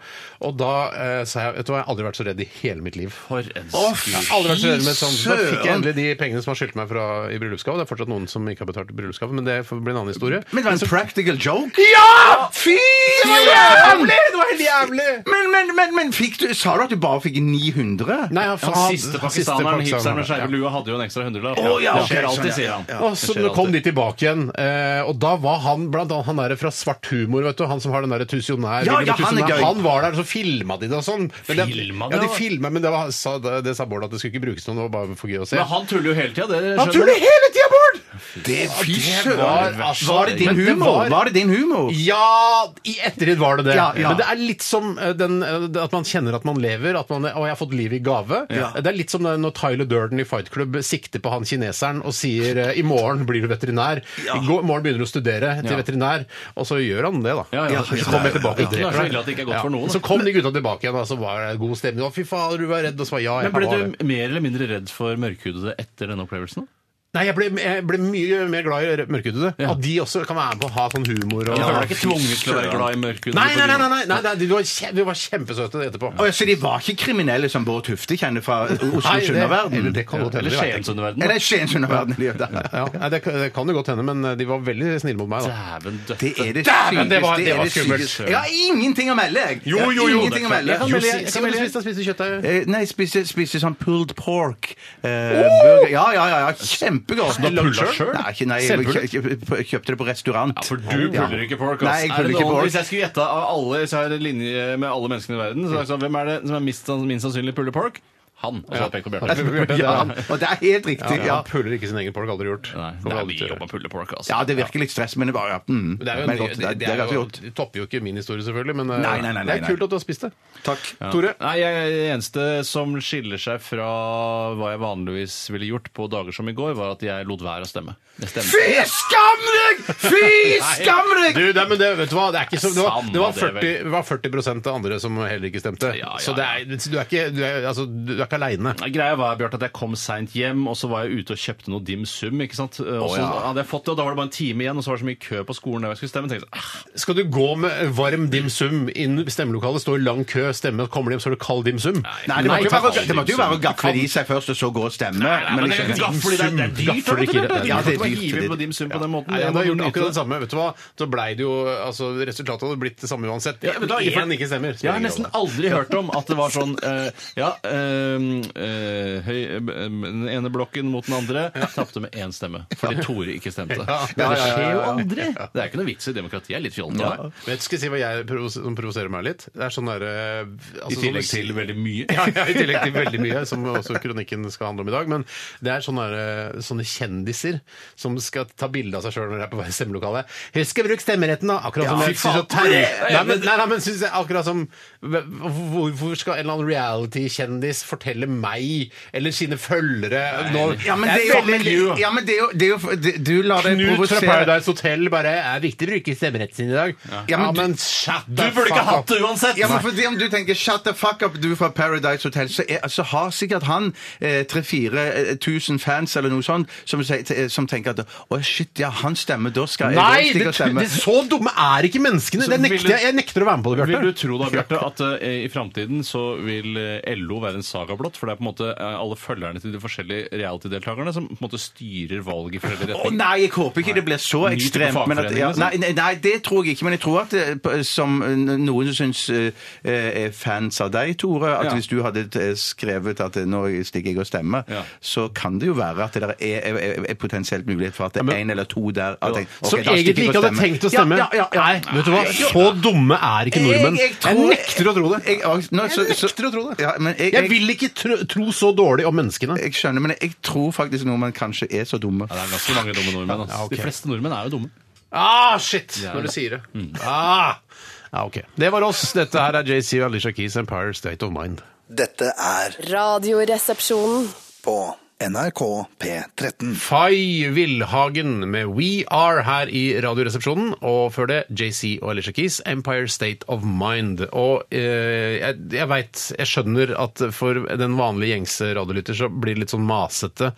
A: Og da eh, sa jeg Vet du hva, jeg har aldri vært så redd i hele mitt liv.
B: For en
C: Å,
B: skur.
A: Jeg har aldri vært så redd med et sånt. Så da fikk jeg
C: søren.
A: endelig de pengene som har skyldt meg fra i bryllupsgave. Det er fortsatt noen som ikke har betalt bryllupsgave, men det får bli en annen historie.
C: Men det var en practical joke.
A: Ja! Fy! Det var
C: søren!
A: jævlig! Det var helt jævlig!
C: Men, men, men, men fikk du, sa du at du bare fikk 900?
A: Nei,
B: Ja,
A: han-
B: Han siste pakistaneren, hipsteren med skeive lue, hadde jo en ekstra hundrelapp.
C: Å, ja,
B: det
C: ok,
B: skjer
C: sånn,
B: alltid,
C: ja,
B: sier
C: ja,
B: han.
C: ja.
A: Og så
B: Det skjer
A: kom de
B: alltid.
A: tilbake igjen, eh, og da var han blant annet han der fra Svart humor, vet du, han som har den derre tusionær,
C: Ja, ja,
A: Wilhelm
C: han er
A: Tusionær,
C: gøy.
A: han var der, og så filma de det og sånn. Men det-
B: Filma
A: ja,
B: det,
A: de
B: da?
A: filma, men det, var, sa, det, det sa Bård at det skulle ikke brukes til noe, det var bare for gøy å se.
B: Men han tuller jo hele tida, det
A: Han
B: skjønner
A: tuller
B: du.
A: hele tida, Bård!
C: Det, fy
A: det var-
C: søren!
A: altså,
C: Var det din
A: men det
C: humor?
A: var-
C: Var det din humor?
A: Ja, i ettertid var det det.
C: Ja, ja.
A: Men det er litt som eh, den, eh, det at man kjenner at man lever, at man, og jeg har fått livet i gave.
C: Ja.
A: Det er litt som det når Tyler Durden i Fight Club sikter på han kineseren og sier eh, i morgen blir du veterinær. I går, morgen begynner du å studere til
B: Ja.
A: veterinær, og så gjør han det, da.
B: Ja, ja.
A: Så kommer jeg tilbake og
B: Det er
A: dreper
B: så ille at det ikke er godt for noen, da.
A: Så kom de gutta tilbake igjen, og så var det god stemning. Å, fy fader, du var redd, og så var ja, jeg
B: Men ble
A: var det.
B: du mer eller mindre redd for mørkhudede etter denne opplevelsen?
A: Nei, jeg ble, jeg ble mye mer glad i mørkhudede.
B: Ja.
A: At de også kan være med på å ha sånn humor. Og,
B: Ja, du ble ikke tvunget til å være glad i mørkhudede?
A: Nei, nei, nei, nei, nei, nei, nei de, var kje, de var kjempesøte etterpå.
C: Å, ja, så de var ikke kriminelle som Bård Tufte kjenner fra
A: Nei, det-
C: Oslo-Sunnaverden?
A: eller det kan godt hende,
B: Eller
A: det vet
B: sånn?
A: jeg ikke.
B: Skiensunderverdenen?
C: Eller Skien-Sunnaverden? de gjør det.
A: Ja, nei, det, det kan jo godt hende, men eh, de var veldig snille mot meg. da.
B: Dæven
C: Det
B: døtte.
C: er det
A: Dæven, det var-
C: sykeste.
A: det var
C: er
A: skummelt.
C: sykeste. Jeg har ingenting å melde, jeg. Jeg har Ingenting å melde.
B: Jeg kan
A: Jo,
B: melde-
A: si-
B: jeg
A: si hva
B: kan
A: du
B: melde-
A: spiste, spiste kjøttdeig.
C: Eh, Nei, spise, spise sånn pulled pork. Eh, burger. Ja, ja, ja, ja. Kjempegodt.
B: du har pullet selv?
C: Nei, ikke- nei jeg kjø- kjø- kjøpte det på restaurant.
B: Ja, for du puller ikke pork, ass.
C: Nei, jeg
B: Er
C: puller
B: det
C: ikke
B: noen-
C: pork.
B: Hvis jeg skulle gjette av alle hvis jeg har en linje med alle menneskene i verden, så er det sånn, hvem er det som er minst, minst sannsynlig puller pork? Han. Og så har jeg pekt på Bjarte.
C: Ja, og det er helt riktig.
A: Ja,
C: Ja,
A: han puller ikke sin egen folk, aldri gjort.
B: Nei,
A: Kommer
B: det er
A: aldri
B: mye
A: til å
B: jobb
A: gjøre.
B: å pulle pork, altså.
C: ja det virker litt stress, men det var ja, mm.
A: Men det er jo,
C: Men
A: en-
C: godt,
A: det, det, er
C: ganske
A: jo,
C: godt.
A: det topper jo ikke min historie, selvfølgelig, men eh,
C: Nei, nei, nei,
A: det er
C: nei,
A: kult at du har spist det.
C: Takk.
B: Ja.
A: Tore?
B: Nei, jeg er det eneste som skiller seg fra hva jeg vanligvis ville gjort på dager som i går, var at jeg lot være å stemme. Jeg stemte.
C: Fy skam deg! Fy skam deg!
A: Du, nei, men det, vet du hva, det, er ikke så, det, var,
B: Samme
A: det var
B: det, vel.
A: 40, det var 40 av andre som heller ikke stemte.
B: Ja, ja,
A: Så det er, du, er ikke, du, er, altså, du er ikke aleine.
B: Greia var Bjørn, at jeg kom seint hjem, og så var jeg ute og kjøpte noe dim sum. ikke sant? Og så hadde jeg fått det, og da var det bare en time igjen, og så var det så mye kø på skolen der jeg skulle stemme. tenkte jeg, ah,
A: Skal du gå med varm dim sum inn i stemmelokalet, stå i lang kø, stemme, kommer de hjem, så er det kald dim sum?
C: Nei, det, måtte jo
A: takk.
C: være, å- det måtte jo være å gafle i seg først, og så gå og stemme. jeg
B: men det er
C: skjønner.
B: jo gaffel i det, det er dyrt,
A: Gaffel ikke, det er dyrt.
B: vet du, Ja, det er
C: dyrt, det er dyrt.
B: dyrt. på dim sum på den måten.
A: Nei,
B: Jeg
A: jeg hadde
B: må
A: gjort
B: nyte
A: akkurat det samme. vet du hva? Så blei det jo altså, Resultatet hadde blitt det samme uansett.
B: Ja, men da-
A: Én ikke stemmer.
B: Jeg har nesten aldri hørt om at det var sånn eh, Ja, eh, eh, høy, eh, den ene blokken mot den andre. Tapte med én stemme. Fordi Tore ikke stemte. Men det skjer jo aldri! Det er ikke noe vits i demokrati. Det er litt fjollete. av meg.
A: Vet du skal jeg si hva jeg provos som provoserer meg litt? Det er sånn derre altså,
B: I tillegg
A: sånn-
B: til veldig mye.
A: ja, ja, I tillegg til veldig mye, som også kronikken skal handle om i dag. Men det er sånne, der, sånne kjendiser som skal ta bilde av seg sjøl når de er på vei til stemmelokalet. 'Husk å bruke stemmeretten', da! Akkurat som
B: Ja,
A: jeg
B: fy
A: synes
B: faen,
A: at Terje
B: Tore!
A: Nei, men, nei, nei, men synes jeg akkurat som Hvorfor skal en eller annen reality-kjendis fortelle meg eller sine følgere nå
C: Ja, men det er jo, men, det- ja, men det er jo, det er jo det- Du lar deg
A: Knut fra
C: provosere.
A: Paradise Hotel bare er viktig å bruke stemmeretten sin i dag. Ja,
C: men du-
A: shut
B: Du
A: the
B: burde ikke
A: fuck
B: hatt det
A: up.
B: uansett!
C: Ja, men fordi om du tenker 'shut the fuck up, du fra Paradise Hotel', så, er, så har sikkert han eh, 3000-4000 fans eller noe sånt som, sier- t- eh, som tenker at 'å shit, ja, han stemmer, da skal jeg
A: Nei!
C: stikke
A: Det,
C: og stemme'.
A: det, så dumme er ikke menneskene!
B: Så
A: Det
B: vil
A: nekter,
B: du-
A: jeg- jeg nekter å være med på det,
B: Vil
A: Bjarte.
B: du tro da, Bjarte, at eh, i framtiden så vil eh, LO være en saga blått? For det er på en måte eh, alle følgerne til de forskjellige reality-deltakerne som på en måte styrer valget i forskjellige
C: Å,
B: retninger.
C: nei, jeg håper ikke det blir så
B: Nyt
C: ekstremt.
B: på
C: Men at, ja,
A: liksom?
B: fagforeningen,
C: nei, nei, nei, det tror jeg ikke. Men jeg tror at eh, på- som eh, noen syns eh, er fans av deg, Tore, at
B: Ja.
C: hvis du hadde eh, skrevet at eh, nå stikker jeg og stemmer,
B: Ja.
C: så kan det jo være at det der er, er, er, er potensielt mulighet for at det er én eller to der at jeg, ok,
A: Som
C: da stikker jeg
A: egentlig
C: og
A: ikke hadde
C: stemmer.
A: tenkt å stemme.
C: Ja, ja, ja, ja.
A: Nei, vet du hva? Så dumme er ikke nordmenn. Jeg, nekter å tro det.
C: Jeg, og- nå, så, så,
A: nekter å tro det.
C: Ja, men
A: Jeg
C: jeg, jeg,
A: vil ikke tro, tro så dårlig om menneskene.
C: jeg skjønner, men jeg tror faktisk nordmenn kanskje er så dumme.
B: Ja, det er ganske mange dumme nordmenn. Altså.
A: Ja, ok.
B: De fleste nordmenn er jo dumme.
A: Ah, shit!
B: Ja.
A: Når du sier det. Ah. Ja, ok. Det var oss. Dette her er JC og Alicia Keys' Empire State of Mind.
F: Dette er
G: Radioresepsjonen.
F: på NRK P13.
A: Fay Villhagen med We Are her i Radioresepsjonen. Og før det JC og Alicia Keys, Empire State of Mind. Og eh, jeg, jeg veit, jeg skjønner at for den vanlige gjengse radiolytter så blir det litt sånn masete,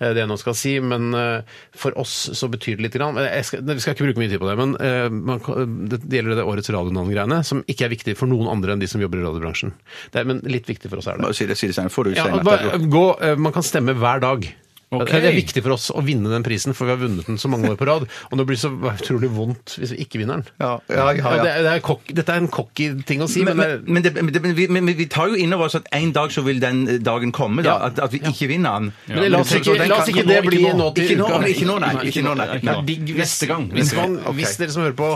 A: eh, det jeg nå skal si. Men eh, for oss så betyr det lite grann. Men Jeg skal, vi skal ikke bruke mye tid på det, men eh, man, kan- det gjelder det årets radionavn-greiene, som ikke er viktig for noen andre enn de som jobber i radiobransjen. Det er, men litt viktig for oss er det.
C: Bare si det, si det senere. Får du
A: Ja,
C: senere.
A: bare, gå, eh, man kan stemme hver dag.
B: Ok.
A: Det er viktig for oss å vinne den prisen, for vi har vunnet den så mange år på rad. Og det blir så utrolig vondt hvis vi ikke vinner den.
C: Ja, ja, ja, ja.
A: det er, det er kokk- dette er en cocky ting å si,
C: men,
A: men,
C: men,
A: det er-
C: men, det, men, det, men, vi, men vi tar jo inn over oss at en dag så vil den eh, dagen komme, da.
A: Ja.
C: At, at vi ikke vinner den.
A: men la oss
C: så- så
A: ikke,
C: den
A: la oss
C: kan-
A: ikke
C: nå-
A: det bli
C: ikke
A: nå til
C: Ikke nå,
A: uka.
C: men ikke nå, nei. Ikke nå, nei.
A: Det er digg hvis,
B: Neste gang.
A: Hvis, man,
C: Ok.
A: hvis dere som hører på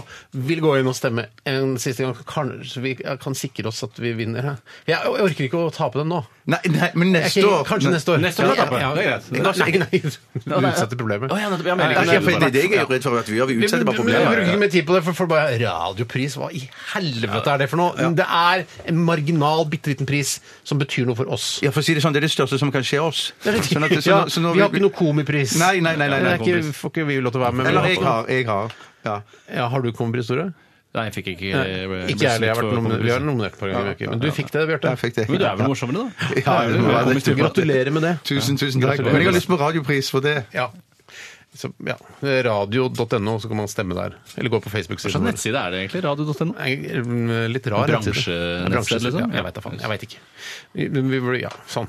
A: vil gå inn og stemme en siste gang, kanskje vi kan sikre oss at vi vinner. her. Jeg, jeg orker ikke å tape den nå.
C: Nei, nei,
A: Jeg
C: men neste
A: er
C: år
A: ikke, kanskje neste år.
B: Neste år kan
A: Ja,
B: jeg tape.
A: ja,
B: Det er
A: ja.
B: greit.
A: Nei, nei, du utsetter problemet.
B: Å, ja, nettopp. Jeg
C: Nei,
B: mener
C: nei,
B: ikke det.
C: for det er det jeg er redd for at vi gjør. Vi
A: Vi,
C: utsetter bare problemet.
A: bruker ikke mer tid på det, for, for bare radiopris, hva i helvete er det for noe? Det er en marginal, bitte liten pris som betyr noe for oss.
C: Ja, for å si det sånn, det er det største som kan skje oss. Sånn at- så
A: ja,
C: nå- så nå-
A: vi har ikke noe komipris.
C: Nei, nei, nei, nei,
A: Det er
C: nei,
A: ikke, får ikke vi lov til å være med. men
C: Eller
A: vi
C: jeg
A: på det.
C: har. Jeg har. Ja.
A: Ja, har du komipris, Tore?
B: Nei, jeg fikk ikke eh,
A: Nei,
B: jeg ble-
A: Ikke jeg heller. Jeg har vært
B: ble-
A: nominert- Vi har nominert et par ganger. ikke? Men du fikk det, Bjarte.
C: Jeg fikk det.
B: Men du er vel morsommere, da?
C: Ja, det må være det.
A: Gratulerer med det.
C: Tusen, tusen takk. Men jeg har lyst på radiopris for det.
A: Ja. Så, ja. Radio.no, så kan man stemme der. Eller gå på
C: Sånn
B: Hva slags
A: Facebook-siden vår.
B: nettside er det egentlig? Radio.no?
A: Nei, mm, Litt rar
B: Bransje-
A: nettside.
B: nettsted,
A: Bransje-
B: liksom?
A: Ja, jeg vet da faen. Jeg vet ikke. Vi, vi, vi- ja, sånn.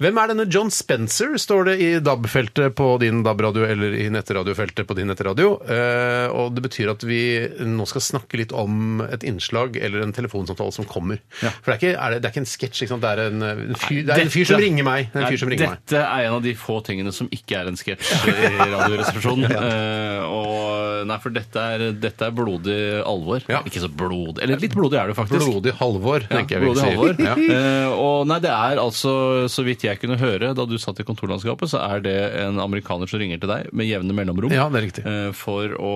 A: Hvem er denne John Spencer, står det i DAB-feltet på din DAB-radio, eller i netteradiofeltet på din nettradio. Eh, og det betyr at vi nå skal snakke litt om et innslag eller en telefonsamtale som kommer. For det er ikke, er det, det er ikke en sketsj, ikke sant? Det er en, en, fyr, det er en fyr som
B: Dette-
A: ringer meg. Det er en fyr som
B: Nei,
A: ringer meg.
B: Dette er en av de få tingene som ikke er en sketsj i Radioresepsjonen. Eh, og Nei, for dette er, dette er blodig alvor.
A: Ja.
B: Ikke så blodig Eller litt blodig er det faktisk.
A: Blodig Halvor, tenker jeg vi
B: blodig
A: sier.
B: alvor.
A: Ja.
B: Eh, og nei, det er altså, så vidt jeg kunne høre da du satt i kontorlandskapet, så er det en amerikaner som ringer til deg med jevne mellomrom
A: Ja, det er riktig.
B: eh, for å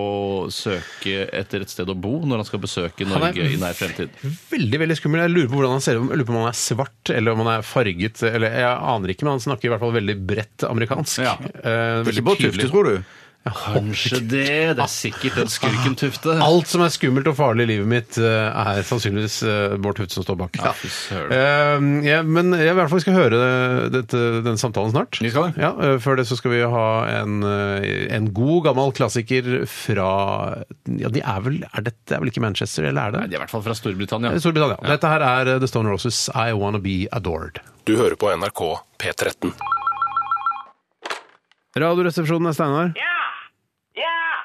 B: søke etter et sted å bo når han skal besøke
A: Han er-
B: Norge i nær fremtid.
A: Veldig veldig skummel. Jeg lurer på hvordan han ser ut. Jeg Lurer på om han er svart eller om han er farget. Eller jeg aner ikke, men han snakker i hvert fall veldig bredt amerikansk.
B: Ja.
A: Eh,
C: Det er
A: veldig
C: ikke bare
A: tydelig.
C: Tufte, tror du?
A: Jeg håper
B: Kanskje
A: ikke.
B: det. Det er sikkert den skurken Tufte.
A: Alt som er skummelt og farlig i livet mitt, eh, er sannsynligvis eh, Bård Tufte som står bak.
B: Ja, fy søren.
A: Eh, ja, men jeg i hvert fall skal høre dette, den samtalen snart.
B: Vi skal det.
A: Ja, eh, før det så skal vi ha en, eh, en god, gammel klassiker fra Ja, de er vel er Dette er vel ikke Manchester, eller er det?
B: Nei, de er i hvert fall fra Storbritannia.
A: Storbritannia. Eh, Dette her er eh, The Stone Roses' I Wanna Be Adored.
D: Du hører på NRK P13.
A: Radioresepsjonen er Steinar.
H: Yeah, yeah.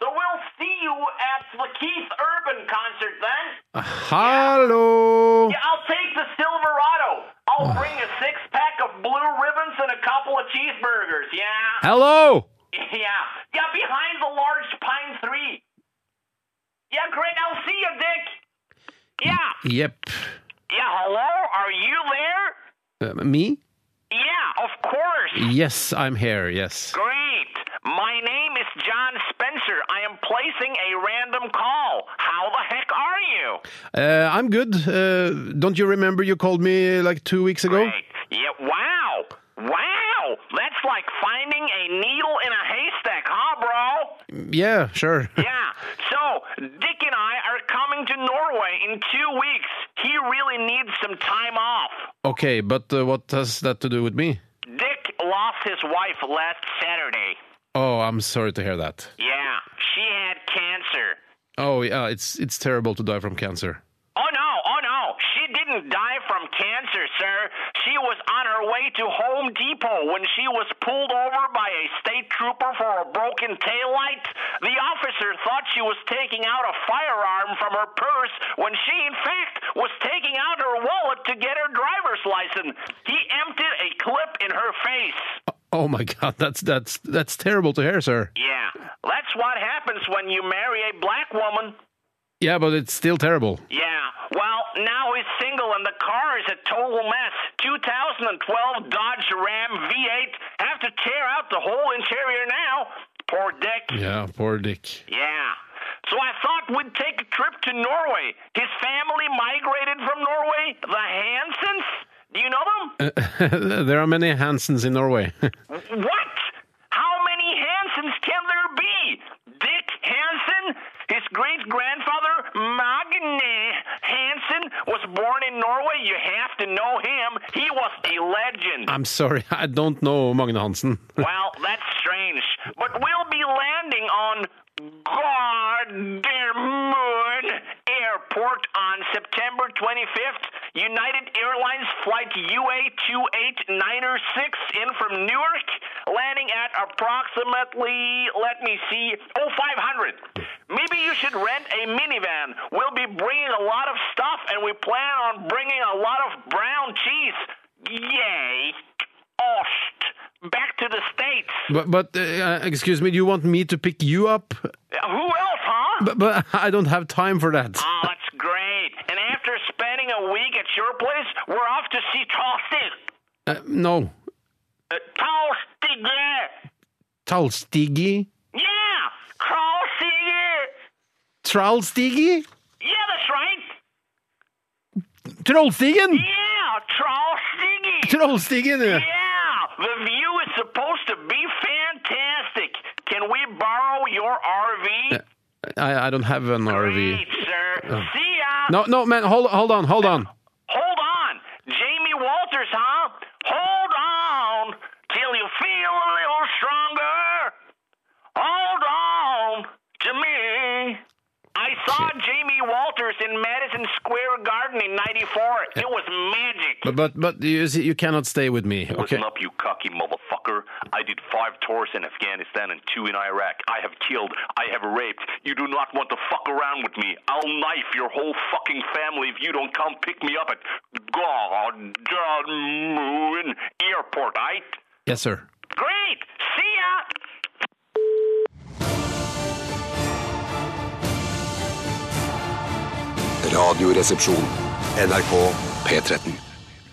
H: So we'll see you at the Keith Urban concert then.
A: Hallo!
H: Yeah, I'll take the Silverado. I'll bring a six couple of cheeseburgers. Yeah.
B: Hello!
H: Yeah. Yeah, behind the large pine tree. Yeah, great. I'll see you, Dick. Yeah.
A: Jepp.
H: Yeah, hello? Are you there?
A: Uh, me?
H: Yeah, of course.
A: Yes, I'm here. Yes.
H: Great. My name is John Spencer. I am placing a random call. How the heck are you?
A: Uh, I'm good. Uh, don't you remember you called me like two weeks ago?
H: Great. Yeah, wow. Wow. That's like finding a needle in a haystack, huh, bro?
A: Yeah, sure.
H: Yeah. So, Dick and I are coming to Norway in two weeks. He really needs some time off.
A: Okay, but uh, what has that to do with me?
H: Dick lost his wife last Saturday.
A: Oh, I'm sorry to hear that.
H: Yeah, she had cancer.
A: Oh, yeah, it's it's terrible to die from cancer.
H: Oh no, oh no. She didn't die from cancer, sir. She was on her way to Home Depot when she was pulled over by a state trooper for a broken taillight. The officer thought she was taking out a firearm from her purse when she, in fact, was taking out her wallet to get her driver's license. He emptied a clip in her face.
A: Oh my God, that's that's that's terrible to hear, sir.
H: Yeah, that's what happens when you marry a black woman.
A: Yeah, but it's still terrible.
H: Yeah. Well, now he's single and the car is a total mess. 2012 Dodge Ram V8. Have to tear out the whole interior now. Poor Dick.
A: Yeah, poor Dick.
H: Yeah. So I thought we'd take a trip to Norway. His family migrated from Norway, the Hansens. Do you know them?
A: there are many Hansens in Norway.
H: What? How many Hansens can there be? Dick Hansen, his great grandfather Magne Hansen was born in Norway. You have to know him. He was a legend.
A: I'm sorry, I don't know Magne Hansen.
H: Well, that's strange. But we'll be landing on Gardermoen Airport on September 25th. United Airlines flight UA28906 in from Newark, landing at approximately, let me see, oh five hundred. Maybe you should rent a minivan. We'll be bringing a lot of stuff, and we plan on bringing a lot of brown cheese. Yay! Ost. Back to the States.
A: But, but uh, excuse me, do you want me to pick you up?
H: Who else, huh?
A: But, but I don't have time for that.
H: Oh, that's great. And after spending a week at your place, we're off to see Talstig.
A: Uh, no.
H: Uh, Talstig.
A: Talstigi?
H: Yeah! Talstig.
A: Trallstigi?
H: Yeah, that's right.
A: Trollstigen?
H: Yeah, Talstig.
A: Trollstigen! ja.
H: Yeah! The view is supposed to be fantastic. Can we borrow your
A: Uh,
H: RV?
A: I, I don't have an RV.
H: Great, sir. See ya.
A: Oh. No, no, man, hold, hold on, hold on.
H: Hold on. Jamie Walters, huh? Hold on till you feel a little stronger. Hold on to me. I saw Jamie Walters in Madison Square Garden in 94. It was magic.
A: But, but, but you, see, you cannot stay with me, okay?
H: Listen up, you cocky motherfucker. I did five tours in Afghanistan and two in Iraq. I have killed. I have raped. You do not want to fuck around with me. I'll knife your whole fucking family if you don't come pick me up at God Moon Airport, right?
A: Yes, sir.
H: Great! See ya!
I: Radioresepsjon. NRK P13.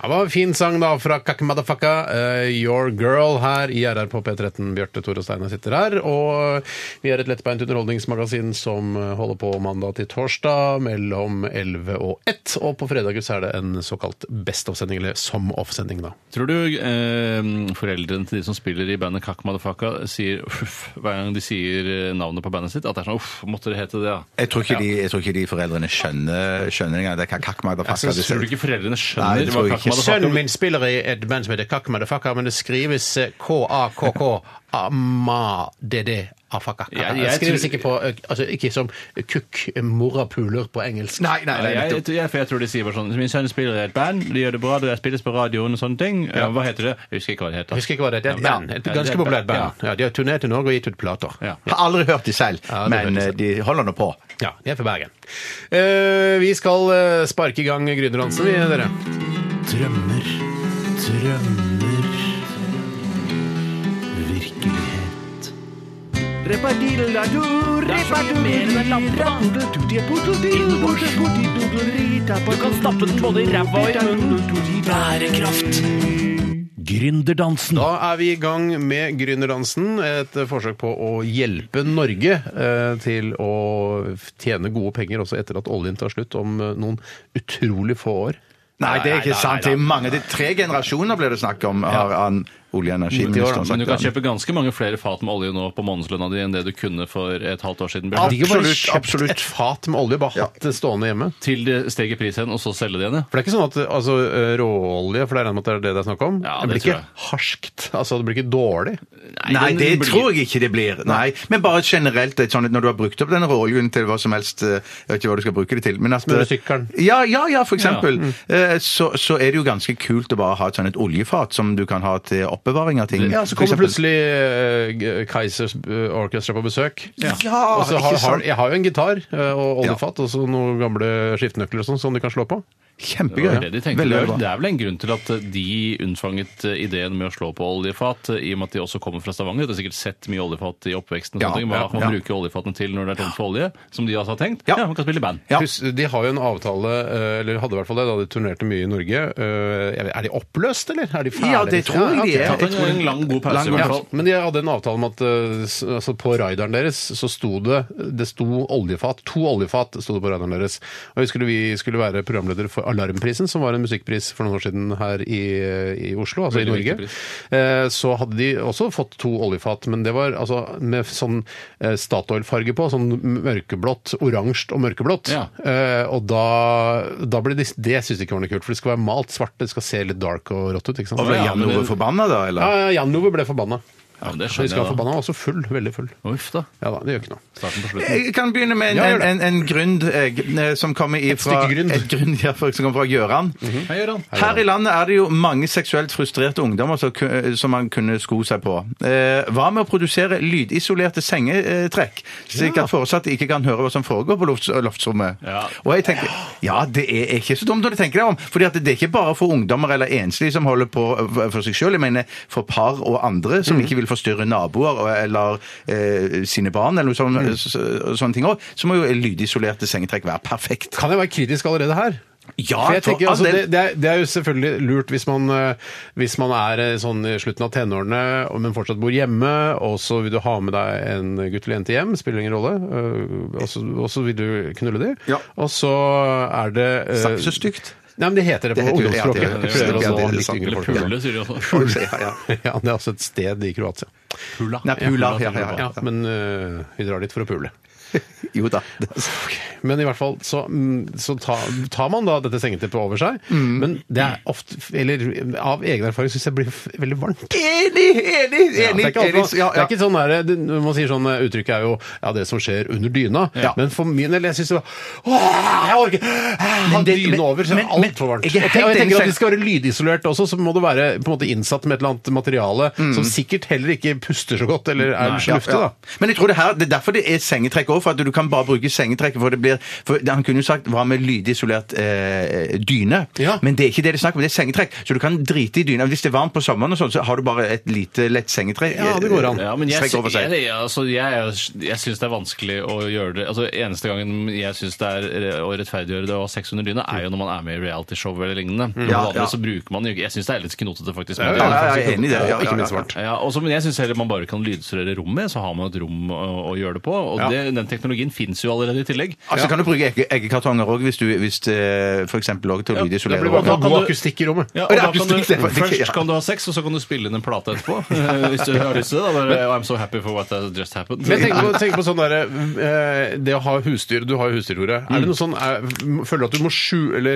A: Det var en fin sang da fra Kak Madafaka, eh, Your Girl, her i RR på P13. Bjarte Tore Steine sitter her, og vi er et lettbeint underholdningsmagasin som holder på mandag til torsdag mellom 11 og 1, og på fredager så er det en såkalt best of-sending, eller som of-sending, da.
B: Tror du eh, foreldrene til de som spiller i bandet Kakk Madafaka, sier uff hver gang de sier eh, navnet på bandet sitt? At det er sånn uff, måtte det hete det, ja.
C: Jeg tror ikke, de, jeg tror ikke de foreldrene skjønner, skjønner engang. Det er kakk, motherfucker.
B: Så tror du ikke foreldrene
C: Nei,
B: skjønner
C: det
B: hva
C: tror jeg
B: Kakk
C: ikke.
B: Madafaka
A: Sønnen min spiller i et band som heter Kak Madafaka, men det skrives eh, K-A-K-K-A-M-A-D-D-A-Faka.
B: Jeg- jeg
A: Det skrives
B: tror-
A: ikke, på, altså, ikke som kukk, mora puler på engelsk.
C: Nei, nei, nei.
B: Ja,
C: nettopp.
B: jeg, jeg, for jeg tror de sier bare sånn Min sønn spiller i et band, de gjør det bra, det spilles på radioen og sånne ting. Ja. Hva heter det? Jeg husker ikke hva det heter.
A: Jeg husker ikke hva det heter. Et
B: Ja.
A: band. Et
B: Ja, det er
A: ganske
B: et
A: populært
B: band.
A: band. Ja, de har turnert i Norge og gitt ut plater.
B: Ja.
C: Har aldri hørt de selv,
A: Ja, det
C: men
A: hører
C: eh, de holder nå på.
A: Ja, de er fra Bergen. Eh, vi skal eh, sparke i gang Gründerdansen, vi, dere. Drømmer, drømmer
E: Du kan stappe den både i ræva og i munnen. Bærekraft. Gründerdansen.
A: Da er vi i gang med Gründerdansen. Et forsøk på å hjelpe Norge eh, til å tjene gode penger også etter at oljen tar slutt om eh, noen utrolig få år.
C: Nei, det er ikke
A: Nei, nei,
C: sant.
A: nei,
C: Det er mange, det er tre generasjoner ble det snakk om, har han olje- og energiministeren
B: Men du kan
C: sagt.
B: kjøpe ganske mange flere fat med olje nå på månedslønna di enn det du kunne for et halvt år siden.
A: Jeg
B: Bjørn.
A: hadde ikke bare
C: Absolutt,
A: kjøpt
C: absolutt.
A: Et fat med olje, bare hatt det stående hjemme.
B: Til det steger prisen, og så selge det igjen, ja.
A: For det er ikke sånn at altså, eh, råolje, for det er regnet med at det er det det er snakk om,
B: Ja,
A: det,
B: det
A: blir ikke
B: tror jeg.
A: harskt. Altså, det blir ikke dårlig.
C: Nei,
B: den
C: det
B: blir-
C: tror jeg ikke det blir. Nei, Men bare generelt, det er sånn at når du har brukt opp den råoljen til hva som helst eh, Jeg vet ikke hva du skal bruke det til. Men at, eh,
A: Smøre sykkelen.
C: Ja, ja, ja, for eksempel. eh, Så, så er det jo ganske kult å bare ha et sånn et oljefat som du kan ha til oppbevaring av ting.
A: Ja, så
C: For
A: kommer
C: eksempel-
A: plutselig eh, Kaizers eh, Orchestra på besøk.
C: Ja,
A: og så har,
C: ikke sant?
A: har, jeg har jo en gitar eh, og oljefat og så noen gamle skiftenøkler og sånn som de kan slå på.
B: Det
C: Kjempegøy.
B: var det de tenkte.
C: Veldig
B: Det er,
C: bra.
B: vel- det er vel en grunn til at de unnfanget eh, ideen med å slå på oljefat, eh, i og med at de også kommer fra Stavanger. Du har sikkert sett mye oljefat i oppveksten. og
C: Ja,
B: sånne ting. Hva
C: ja,
B: kan man
C: ja.
B: bruke oljefatene til når det er tomt for olje? Som de altså har tenkt?
C: Ja.
B: Ja, man kan spille i band.
C: Ja.
A: Plus, de har jo en avtale, eh, eller hadde i hvert fall det, da de turnerte mye i Norge. Eh, jeg vet- Er de oppløst, eller? Er de ferdige?
C: Ja, det tror jeg de er.
B: Tatt en, en lang, god pause,
C: Lang,
B: i
A: Ja,
B: hvert fall.
A: men de hadde en avtale om at eh, s- altså på rideren deres så sto det det sto oljefat, to oljefat sto det på rideren deres. Og jeg husker vi skulle være programledere for Alarmprisen, som var en musikkpris for noen år siden her i, i Oslo, altså
B: Veldig
A: i Norge.
B: viktig
A: Eh, Så hadde de også fått to oljefat, men det var altså med sånn eh, Statoil-farge på, sånn mørkeblått, oransje og mørkeblått.
B: Ja.
A: Eh, Og da, da ble de, det synes de ikke var noe kult, for det skal være malt svart, det skal se litt dark og rått ut, ikke sant?
C: Og ble
B: Ja,
C: Jan
B: men
C: Ove
B: det-
C: forbanna da,
A: Ja,
C: eller?
A: ja, Jan Ove ble forbanna.
B: Ja, men det
A: Jeg husker
B: skjønner
A: han
B: jeg, da.
A: forbanna var også full, veldig full.
B: Uff da.
A: Ja da, det gjør ikke noe.
B: Starten på slutten.
C: Jeg kan begynne med en,
A: Ja, gjør
C: en,
A: det.
C: en, en gründ eh, eh, som kommer ifra
A: stykke gründ.
C: Et gründ, ja, for- som kommer fra Gjøran.
B: Hei, Gøran.
C: Her i landet er det jo mange seksuelt frustrerte ungdommer som, ku- eh, som man kunne sko seg på. Eh, hva med å produsere lydisolerte sengetrekk, slik at foresatte ikke kan høre hva som foregår på lofts loftsrommet?
B: Ja.
C: Og jeg tenker, ja, det er ikke så dumt når du tenker deg om, fordi at det er ikke bare for ungdommer eller enslige som holder på eh, for seg selv, jeg mener for par og andre
A: Mhm.
C: som ikke vil forstyrre naboer og- eller eh, sine barn eller noe sånt,
A: Mhm.
C: så, sånne ting også, så må jo lydisolerte sengetrekk være perfekt.
A: Kan jeg være kritisk allerede her?
C: Ja,
A: For jeg tenker,
C: for all
A: altså,
C: del.
A: det, det, er, det er jo selvfølgelig lurt hvis man, eh, hvis man er eh, sånn i slutten av tenårene, og- men fortsatt bor hjemme, og så vil du ha med deg en gutt eller jente hjem, spiller ingen rolle, eh, og så- og så vil du knulle dem.
C: Ja.
A: Og så er det eh,
C: Sagt så stygt.
A: Nei, men det heter det på
C: Det heter jo- ja, det
A: ungdomsspråket.
C: gjør
A: Jeg
C: det.
A: prøver
C: Ja,
A: å
C: det
A: nå
C: er
A: litt
C: sant.
A: yngre
B: Eller
A: folk.
B: pulle, sier de også.
C: Ja, ja.
A: Ja, det er altså et sted i Kroatia.
B: Pula.
C: Nei, pula, ja, ja,
A: Ja, men eh, vi drar dit for å pule.
C: Jo da.
A: Men i hvert fall så, mm, så ta, tar man da dette sengeteppet over seg.
C: Mm.
A: Men det er ofte, eller av egen erfaring, syns jeg blir f- veldig varmt.
C: Enig, enig, enig.
A: det er ikke, alltid,
C: enig.
A: man- Det er ikke sånn der, det, når man sier sånn eh, uttrykket er jo ja, det som skjer under dyna.
B: Ja.
A: Men for min del, jeg syns det var Åh, jeg orker jeg
C: Men
A: har
C: det-
A: dyne
C: men-
A: over, så er
C: men-
A: det
C: men-
A: altfor varmt.
C: jeg er
A: Og te- og
C: helt
A: jeg
C: enig,
A: tenker at
C: Stein.
A: det skal være lydisolert også, så må det være på en måte innsatt med et eller annet materiale
C: Mm.
A: som sikkert heller ikke puster så godt, eller er sluftig, da.
C: Men jeg tror det, her, det er derfor det er sengetrekk òg, for at du kan bare bruke sengetrekket. For det blir, for han kunne jo sagt 'hva med lydisolert eh, dyne',
A: Ja.
C: men det er ikke det det er snakk om. Det er sengetrekk, så du kan drite i dyna. Hvis det er varmt på sommeren, og sånn, så har du bare et lite lett sengetrekk.
A: Ja, det går an.
B: Ja, men jeg,
C: Strekk over seg.
B: jeg, jeg, altså, jeg, er- jeg syns det er vanskelig å gjøre det altså, Eneste gangen jeg syns det er eh, å rettferdiggjøre det å ha sex under dyna, er jo når man er med i realityshow eller lignende. Ja,
C: Mm. Ja, ja.
B: Så bruker man jo ikke Jeg syns det er litt knotete, faktisk.
C: Ja, ja, ja, jeg er enig i det. Ja, ja, ja.
A: Ikke minst varmt.
B: Ja, også, men jeg syns heller man bare kan lydisolere rommet, så har man et rom å, å gjøre det på. Og
A: Ja.
B: det, den teknologien fins jo allerede i tillegg.
C: Altså kan du bruke egge, eggekartonger òg, hvis du hvis, eh, for eksempel også til å
A: Det
C: lydisolere.
A: blir bare
B: Da
C: rommet.
B: kan
A: god
B: du-
A: akustikk i rommet.
B: Ja,
C: Og
B: og
C: det er
B: da kan du,
C: akustikk, det er faktisk-
B: først
C: ja.
B: kan du ha sex, og så kan du spille inn en plate etterpå. eh, Hvis du har lyst til det. Da bare, "Oh, I'm so happy for what has just happened.
A: Men jeg tenker på, tenker på sånn derre eh, Det å ha husdyr Du har jo husdyr, Tore. Er det noe sånn er, Føler du at du må skjule, eller,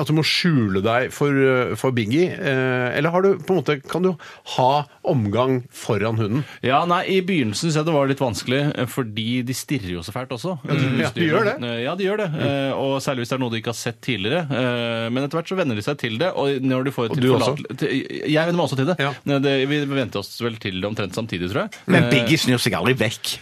A: at du må skjule deg for, eh, for Biggie? eh, eller har du på en måte Kan du ha omgang foran hunden?
B: Ja, nei, I begynnelsen synes jeg det var litt vanskelig, eh, fordi de stirrer jo så fælt også.
A: Ja, de gjør det.
B: Eh, Ja, de gjør det. Eh, Og særlig hvis det er noe de ikke har sett tidligere. Eh, Men etter hvert så venner de seg til det. Og når de får
A: Og
B: til
A: du
B: forlat- til- Jeg venner meg også til det.
A: Ja.
B: Men det. Vi venter oss vel til det omtrent samtidig, tror jeg.
C: Men
B: Eh,
C: Biggie snur seg aldri vekk.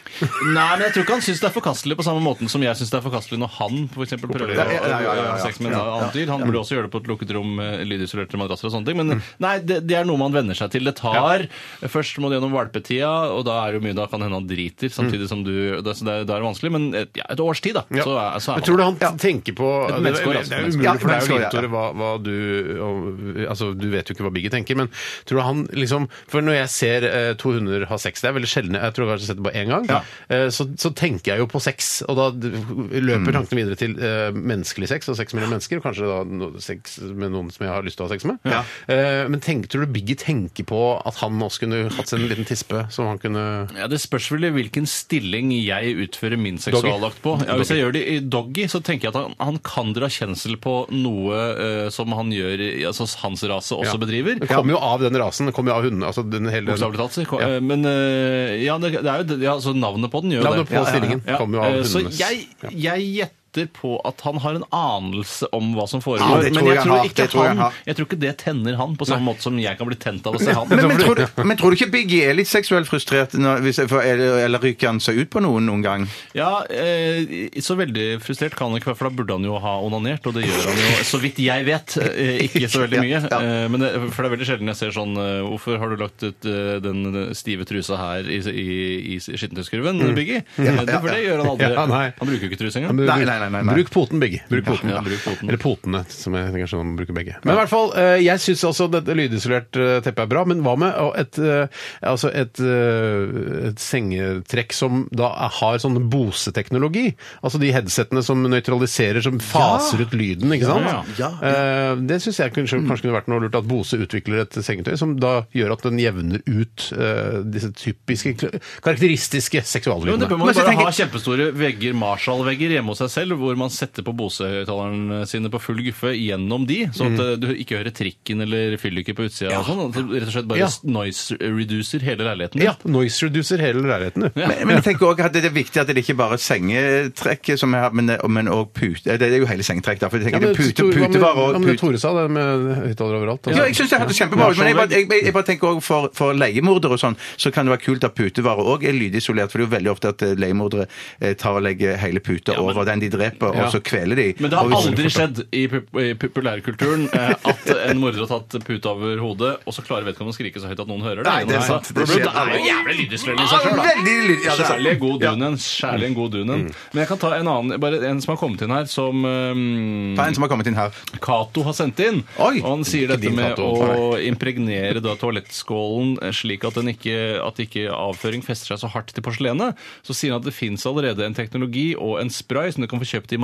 B: Nei, men jeg tror ikke han syns det er forkastelig på samme måten som jeg syns det er forkastelig når han for eksempel prøver å
C: Ja, ja, ja, ja, ja.
B: å ha sex med en annen dyr. Han burde også gjøre det på et lukket rom med lydisolerte madrasser og sånne ting. Men nei, det, det er noe man venner seg til. Det tar Først må du gjennom valpetida, og da er det jo mye da kan hende han driter, samtidig som du da, så det, er- da er det vanskelig. Men et- ja, et års tid, da.
A: Ja.
B: Så, er- så
A: Men
B: er
A: tror
B: man
A: du han tenker på
B: Et
A: Det,
B: menneskeår,
A: det,
B: altså.
A: er jo umulig,
C: Ja,
A: for det er jo
C: menneskeår, ja.
A: Vitor hva, hva du og- Altså, du vet jo ikke hva Biggie tenker, men tror du han liksom For når jeg ser eh, to hunder ha sex, det er veldig sjelden, jeg tror jeg har sett det bare én gang, eh, så, så tenker jeg jo på sex, og da d- løper tankene videre til eh, menneskelig sex og sex mellom mennesker, og kanskje da no, sex med noen som jeg har lyst til å ha sex med. Eh, men tenk, tror du Biggie tenker på at han også kunne hatt seg en liten tispe som han kunne
B: Ja, Det spørs vel i hvilken stilling jeg utfører min seksualakt på. Ja, hvis jeg gjør det i doggy, så tenker jeg at han, han kan dra kjensel på noe eh, som han gjør, i- altså hans rase også bedriver.
A: Det kommer jo av den rasen, det kommer jo av hundene. Altså den hele
B: Bokstavelig talt. så- eh, Men eh, ja, det, det er jo det, ja, altså navnet på den gjør jo
A: Navnet
B: det.
A: på stillingen kommer jo av
B: Eh, Så
A: hundenes-
B: jeg,
A: Ja.
B: jeg gjetter på at han har en anelse om hva som foregår.
C: Ja, det tror
B: men jeg,
C: jeg han
B: tror
C: har,
B: ikke
C: det tror jeg
B: han,
C: har.
B: jeg tror ikke det tenner han på samme måte som jeg kan bli tent av å se
C: Men,
B: han.
C: men,
A: sånn
C: men, tror, du, men tror du ikke Biggie er litt seksuelt frustrert? Når, hvis, for, eller, eller ryker han seg ut på noen noen gang?
B: Ja, eh, så veldig frustrert kan han ikke være, for da burde han jo ha onanert, og det gjør han jo, så vidt jeg vet, eh, ikke så veldig mye.
C: Ja,
B: Eh, Men det, for det er veldig sjelden jeg ser sånn eh, Hvorfor har du lagt ut eh, den stive trusa her i, i, i skittentøyskurven, Biggie? Eh, det- For det gjør han aldri.
A: Mm. Ja, nei.
B: han bruker jo ikke trus
A: Ja,
B: engang.
A: men
C: Nei,
A: bruk-
C: nei, nei, nei, nei.
A: Bruk poten, begge. Bruk poten.
B: ja, bruk poten.
A: Eller potene, som jeg kanskje man bruker begge. Men i hvert fall, eh, jeg syns altså dette lydisolert eh, teppe er bra, men hva med å- et, eh, altså et, eh, et sengetrekk som da er- har sånn Bose-teknologi? Altså de headsettene som nøytraliserer, som faser ut lyden, ikke sant?
B: Ja, Mm.
F: ja.
A: Eh, Det syns jeg kanskje, kanskje kunne vært noe lurt, at Bose utvikler et sengetøy som da gjør at den jevner ut eh, disse typiske, kl- karakteristiske
B: Jo, men det
A: seksuallydene.
B: bør man
C: Men så
B: bare
C: tenker-
B: ha kjempestore vegger, Marshall-vegger hjemme hos seg selv, hvor man setter på Bose-høyttalerne sine på full guffe gjennom de,
A: Mm.
B: sånn at eh, du ikke hører trikken eller fylliker på utsida og sånn. at du Rett og slett bare
A: Ja.
B: s- noise reducer hele leiligheten.
A: Ja, noise reducer hele leiligheten, du.
C: Men, men jeg tenker også at det er viktig at det ikke bare er sengetrekket som er, men, men også pute... Det er jo hele sengetrekk, da. For jeg
A: Ja,
C: tenker
A: men
C: det er pute,
A: Tor- hva med-
C: putevarer
A: ja,
C: og
A: men det
C: pute...
A: Tore sa, det med høyttaler overalt. altså.
C: Ja, jeg synes det hørtes kjempebra ut, men jeg bare, jeg, jeg, jeg bare tenker også for, for leiemordere og sånn, så kan det være kult at putevarer òg er lydisolert. For det er jo veldig ofte at eh, leiemordere eh, tar og legger hele puta over den de dreper,
A: Ja.
C: og så kveler de.
B: Men det har
C: Og hvis-
B: aldri skjedd i, pup i populærkulturen eh, at en morder har tatt pute over hodet, og så klarer vedkommende å skrike så høyt at noen hører det.
C: Nei, det er sant.
B: Det,
C: Det skjer.
B: er jo jævlig lydislønn i
C: Ja,
B: seg selv, da.
C: veldig lyd- ja, Mm. det er-
B: Særlig god dunen. Særlig en god dunen. Men jeg kan ta en annen, bare en som har kommet inn her, som eh,
C: Ta en som har kommet inn her.
B: Cato har sendt inn.
C: Oi!
B: og han sier dette
A: din
B: med
A: Cato,
B: å impregnere da toalettskålen eh, slik at, den ikke, at ikke avføring fester seg så hardt til porselenet. Så sier han at det fins allerede en teknologi og en spray som du kan få kjøpt i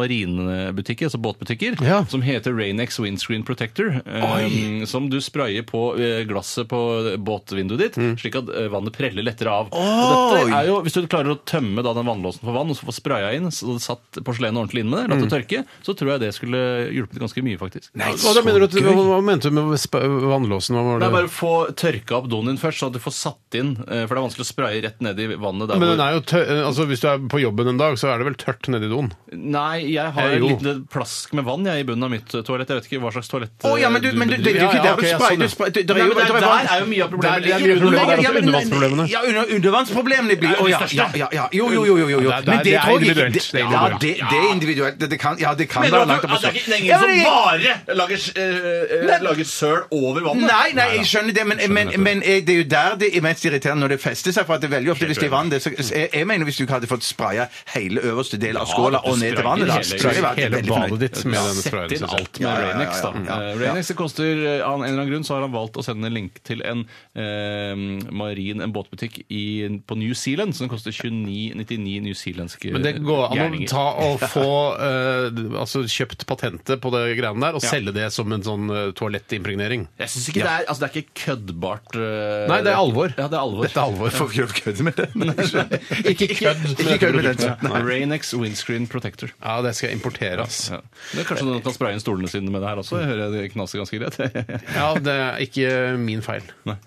B: marinebutikker, altså båtbutikker,
A: Ja.
B: som heter Ranex Windscreen Protector. eh, som du sprayer på eh, glasset på båtvinduet ditt,
C: Mm.
B: slik at eh, vannet preller lettere av. Og dette er jo, hvis du klarer å tømme da den vannlåsen for vann, og så få spraya inn, så det satt porselenet ordentlig inn med det, latt
C: Mm.
B: det tørke, så tror jeg det skulle hjulpet ganske mye, faktisk. Nei,
A: Hva, da mener du, at- hva, hva mente du med sp- vannlåsen? Hva var det?
B: bare få tørka opp doen din først, så at du får satt inn, eh, for det er vanskelig å spraye rett ned i vannet der
A: men den
B: hvor
A: er jo tør, altså, Hvis du er på jobben en dag, så er det vel tørt nedi doen?
B: Nei, jeg har
A: Eh,
B: en
A: jo.
B: liten plask med vann jeg i bunnen av mitt eh, toalett. Jeg vet ikke hva slags toalett eh,
C: Å ja, sånn, men du, men du, det
A: Ja,
C: er jo ikke
A: ja,
C: der
A: ok,
C: du
A: jeg
C: sprayer.
A: så
C: Du
A: det.
C: sprayer det, det
B: Nei,
C: er jo,
B: men det er-
C: det er vann.
B: der er jo mye av problemet
A: Der- der er mye
B: ligger under
A: problemer.
B: vannet.
A: Det er undervannsproblemene.
C: Ja, under, undervannsproblemene blir
B: Det er jo det
C: ja,
B: største.
C: ja, ja, ja, jo, jo, jo, jo, jo. jo.
A: Ja, det er- det er
C: tror jeg
A: individuelt.
C: ikke-
A: Det er
C: Ja,
A: individuelt.
C: det, det er individuelt. Det, det kan, ja, det kan
B: Mener du
C: være
B: at
C: langt
B: du-
C: opp å
B: at det er ikke- det er
C: Ja,
B: ingen som
C: men jeg-
B: bare lager, s- eh, eh,
C: Men-
B: lager søl over vannet?
C: Nei, nei, jeg skjønner det, men, men, men eh, det er jo der det er mest irriterende når det fester seg. For at det er veldig ofte hvis det er vann det, så, så jeg, jeg mener hvis du ikke hadde fått spraya hele øverste del av skåla
B: du
C: og ned til
B: sprayer
C: vannet, da,
B: hele-
C: så
A: Hele,
C: hadde jeg vært
A: hele
C: veldig
A: badet
C: fornøyd.
A: ditt med den sprayen.
B: Sett inn
A: synes jeg.
B: alt med
C: Ja, ja, ja,
B: Ranex, da.
C: ja, ja, ja.
B: Eh, Ranex det koster eh, Av en eller annen grunn så har han valgt å sende en link til en eh, marin en båtbutikk i, på New Zealand, så den koster 29,99 New Zealandske
A: Men det går an å
B: gjerninger.
A: ta og få eh, altså, kjøpt patentet på det greiene der, og selge det som en sånn eh, toalettimpregnering.
B: Jeg synes ikke det er altså det er ikke køddbart. eh,
A: Nei, det er alvor.
B: Ja, det er alvor.
A: Dette er alvor.
C: Får ikke lov til å kødde med det.
A: Ikke kødd med
C: Ikke kødd med
A: dette
C: det.
A: produktet.
C: Nei.
B: Ranex Windscreen Protector.
A: Ja, det skal jeg importere, ass.
B: Ja. Det er kanskje noen kan spraye inn stolene sine med det her også. Jeg hører det knaser ganske greit.
A: Ja, det er ikke min feil.
B: Nei.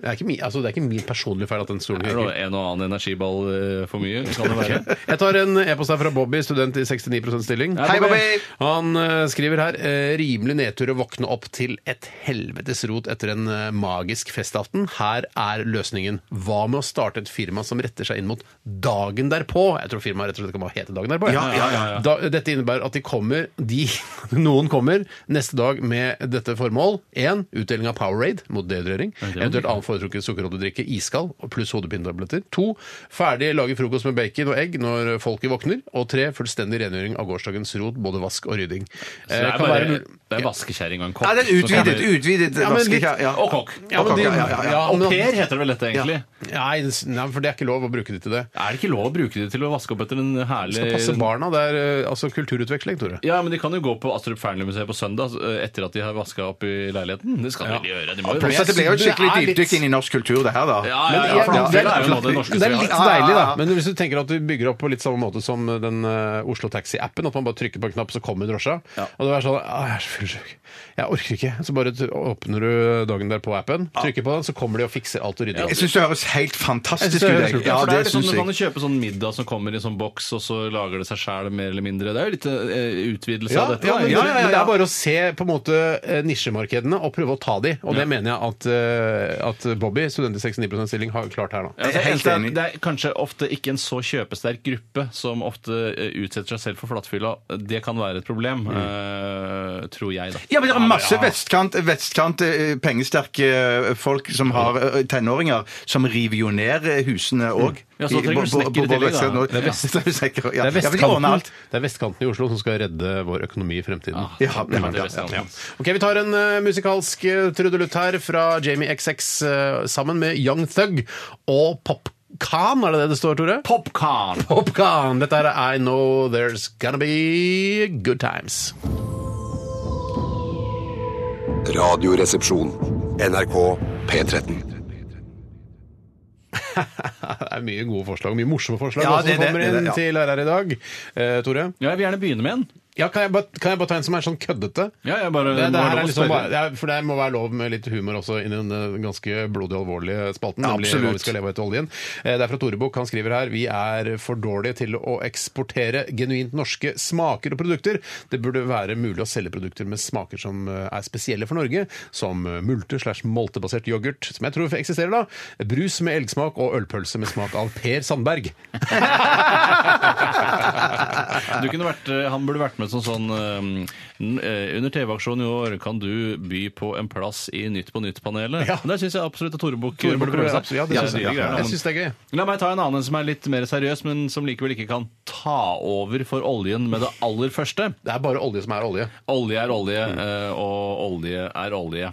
A: Det er ikke min, altså, det er ikke min personlige feil at den stolen
B: Er det
A: knirker.
B: noe- en og annen energiball eh, for mye? Kan det være?
A: Jeg tar en e-post her fra Bobby, student i 69 stilling.
B: Hei, Bobby!
A: Han eh, skriver her eh, rimelig nedtur å våkne opp til et helvetes rot etter en eh, magisk festaften. Her er løsningen. Hva med å starte et firma som retter seg inn mot dagen derpå? Jeg tror firmaet rett og slett kan bare hete Dagen derpå. jeg.
C: Ja, ja, ja,
A: Da, dette innebærer at de kommer, de, noen kommer neste dag med dette formål. Én, utdeling av Powerade mot dehydrering. Eventuelt annen foretrukket sukkerholdig drikke, iskald og pluss hodepinetabletter. To, ferdig lage frokost med bacon og egg når folket våkner. Og tre, fullstendig rengjøring av gårsdagens rot, både vask og rydding.
B: Så det
A: Eh,
B: er
A: kan
B: bare
A: være-
B: det er vaskekjerring og en kokk.
C: Ja, det er
B: som
C: utvidet,
B: kommer-
C: utvidet
A: men
C: vaske-
A: litt-
C: ja, ja.
B: Og kokk.
A: Ja, men de-
C: Ja, ja, ja, ja.
A: ja,
B: Au
A: men-
B: pair heter det vel dette, egentlig?
A: Nei, nei, for det er ikke lov å bruke det til det.
B: Er det ikke lov å bruke det til å vaske opp etter en herlig
A: Skal passe barna. Det er eh, altså kulturutveksling, Tore.
B: Ja, men de kan jo gå på Astrup Fearnley-museet på søndag eh, etter at de har vaska opp i leiligheten. Det skal de vel gjøre. De må jo
C: Pluss at det ble jo et
A: Det er
C: skikkelig
A: litt-
C: dypdykk inn i norsk kultur, det her, da.
B: Ja, ja, ja,
A: Men jeg-
B: for det er jo noe av det norskeste
A: Det er
B: vi har.
A: litt
C: Ja, ja, ja.
A: deilig, da. Men hvis du tenker at du bygger opp på litt samme måte som den eh, Oslo Taxi-appen, at man bare trykker på en knapp, så kommer drosja. Og det er sånn «Ah, Jeg er så fyllesyk. Jeg orker ikke. Så bare t- åpner du dagen der på appen, trykker på den, så kommer de og fikser alt og rydder
C: Jeg
A: opp.
C: syns det høres helt
A: Jeg
C: fantastisk
A: synes
C: ut.
A: det høres
C: jeg.
A: kult ut.
C: Ja,
B: Ja, for det er
C: det
B: liksom,
C: syns
B: Du kan
C: jeg.
B: jo kjøpe sånn middag som kommer i sånn boks, og så lager det seg sjæl mer eller mindre. Det er jo litt eh, utvidelse
A: Ja,
B: av dette.
A: ja,
B: da,
A: men,
C: ja,
B: egentlig.
C: ja, ja.
A: men det er bare å se på en måte eh, nisjemarkedene og prøve å ta de. Og det mener jeg at, eh, at Bobby, student i 69 stilling, har klart her nå.
B: Ja,
C: Jeg er
B: det
C: helt
B: eneste er
C: enig.
B: at Det er kanskje ofte ikke en så kjøpesterk gruppe som ofte eh, utsetter seg selv for flatfylla. Det kan være et problem,
A: Mm.
B: eh, tror jeg, da.
C: Ja, men det er masse vestkant, vestkant eh, pengesterke eh, folk som har eh, tenåringer, som river jo ned eh, husene òg.
B: Mm. Ja, så trenger du snekker i tillegg, da.
C: Det
B: Det
C: er
B: er vest-
C: vestkanten. Ja,
A: Det er,
C: Ja, for de ordner
A: vestkanten,
C: alt.
A: det er vestkanten i Oslo som skal redde vår økonomi i fremtiden.
B: Ah,
C: Ja,
B: det er
C: ja,
B: vestkanten.
A: Ok, Vi tar en eh, musikalsk eh, trudelutt her fra Jamie XX eh, sammen med Young Thug og Popkan, er det det det står, Tore?
B: Popcorn!
A: Popkan! Dette er I Know There's Gonna Be Good Times.
I: Radioresepsjon. NRK P13.
A: Det er mye gode forslag, mye morsomme forslag
C: Ja,
A: også
C: det er
A: som
C: det,
A: kommer
C: det er
A: inn
C: det, ja.
A: til RR i dag. Eh, Tore?
B: Ja, jeg vil gjerne begynne med en.
A: Ja, kan jeg, bare, kan jeg bare ta en som er sånn køddete?
B: Ja, jeg bare,
A: Det,
B: må
A: det
B: ha
A: her
B: lov
A: er
B: å
A: liksom
B: spørre.
A: bare, det er, for det må være lov med litt humor også i den eh, ganske blodig alvorlige spalten.
C: Ja,
A: nemlig
C: absolutt.
A: hva vi skal leve etter oljen. Eh, Det er fra Torebukk. Han skriver her vi er for dårlige til å eksportere genuint norske smaker og produkter. Det burde være mulig å selge produkter med smaker som eh, er spesielle for Norge, som eh, multe- slash moltebasert yoghurt, som jeg tror eksisterer da, brus med elgsmak og ølpølse med smak av Per Sandberg.
B: Du kunne vært, eh, han burde vært med som sånn eh, n- eh, Under TV-aksjonen i år kan du by på en plass i Nytt på nytt-panelet.
A: Ja.
B: Der syns jeg absolutt at Tore Bukk
A: Tore Bukk
B: burde prøve
A: burde-
B: seg.
A: ja, det
B: Det er
A: synes jeg.
B: dyre
A: Ja,
B: greier,
A: jeg
B: men-
A: synes det er gøy.
B: La meg ta en annen som er litt mer seriøs, men som likevel ikke kan ta over for oljen med det aller første.
A: Det er bare olje som er olje.
B: Olje er olje, eh, og olje er olje.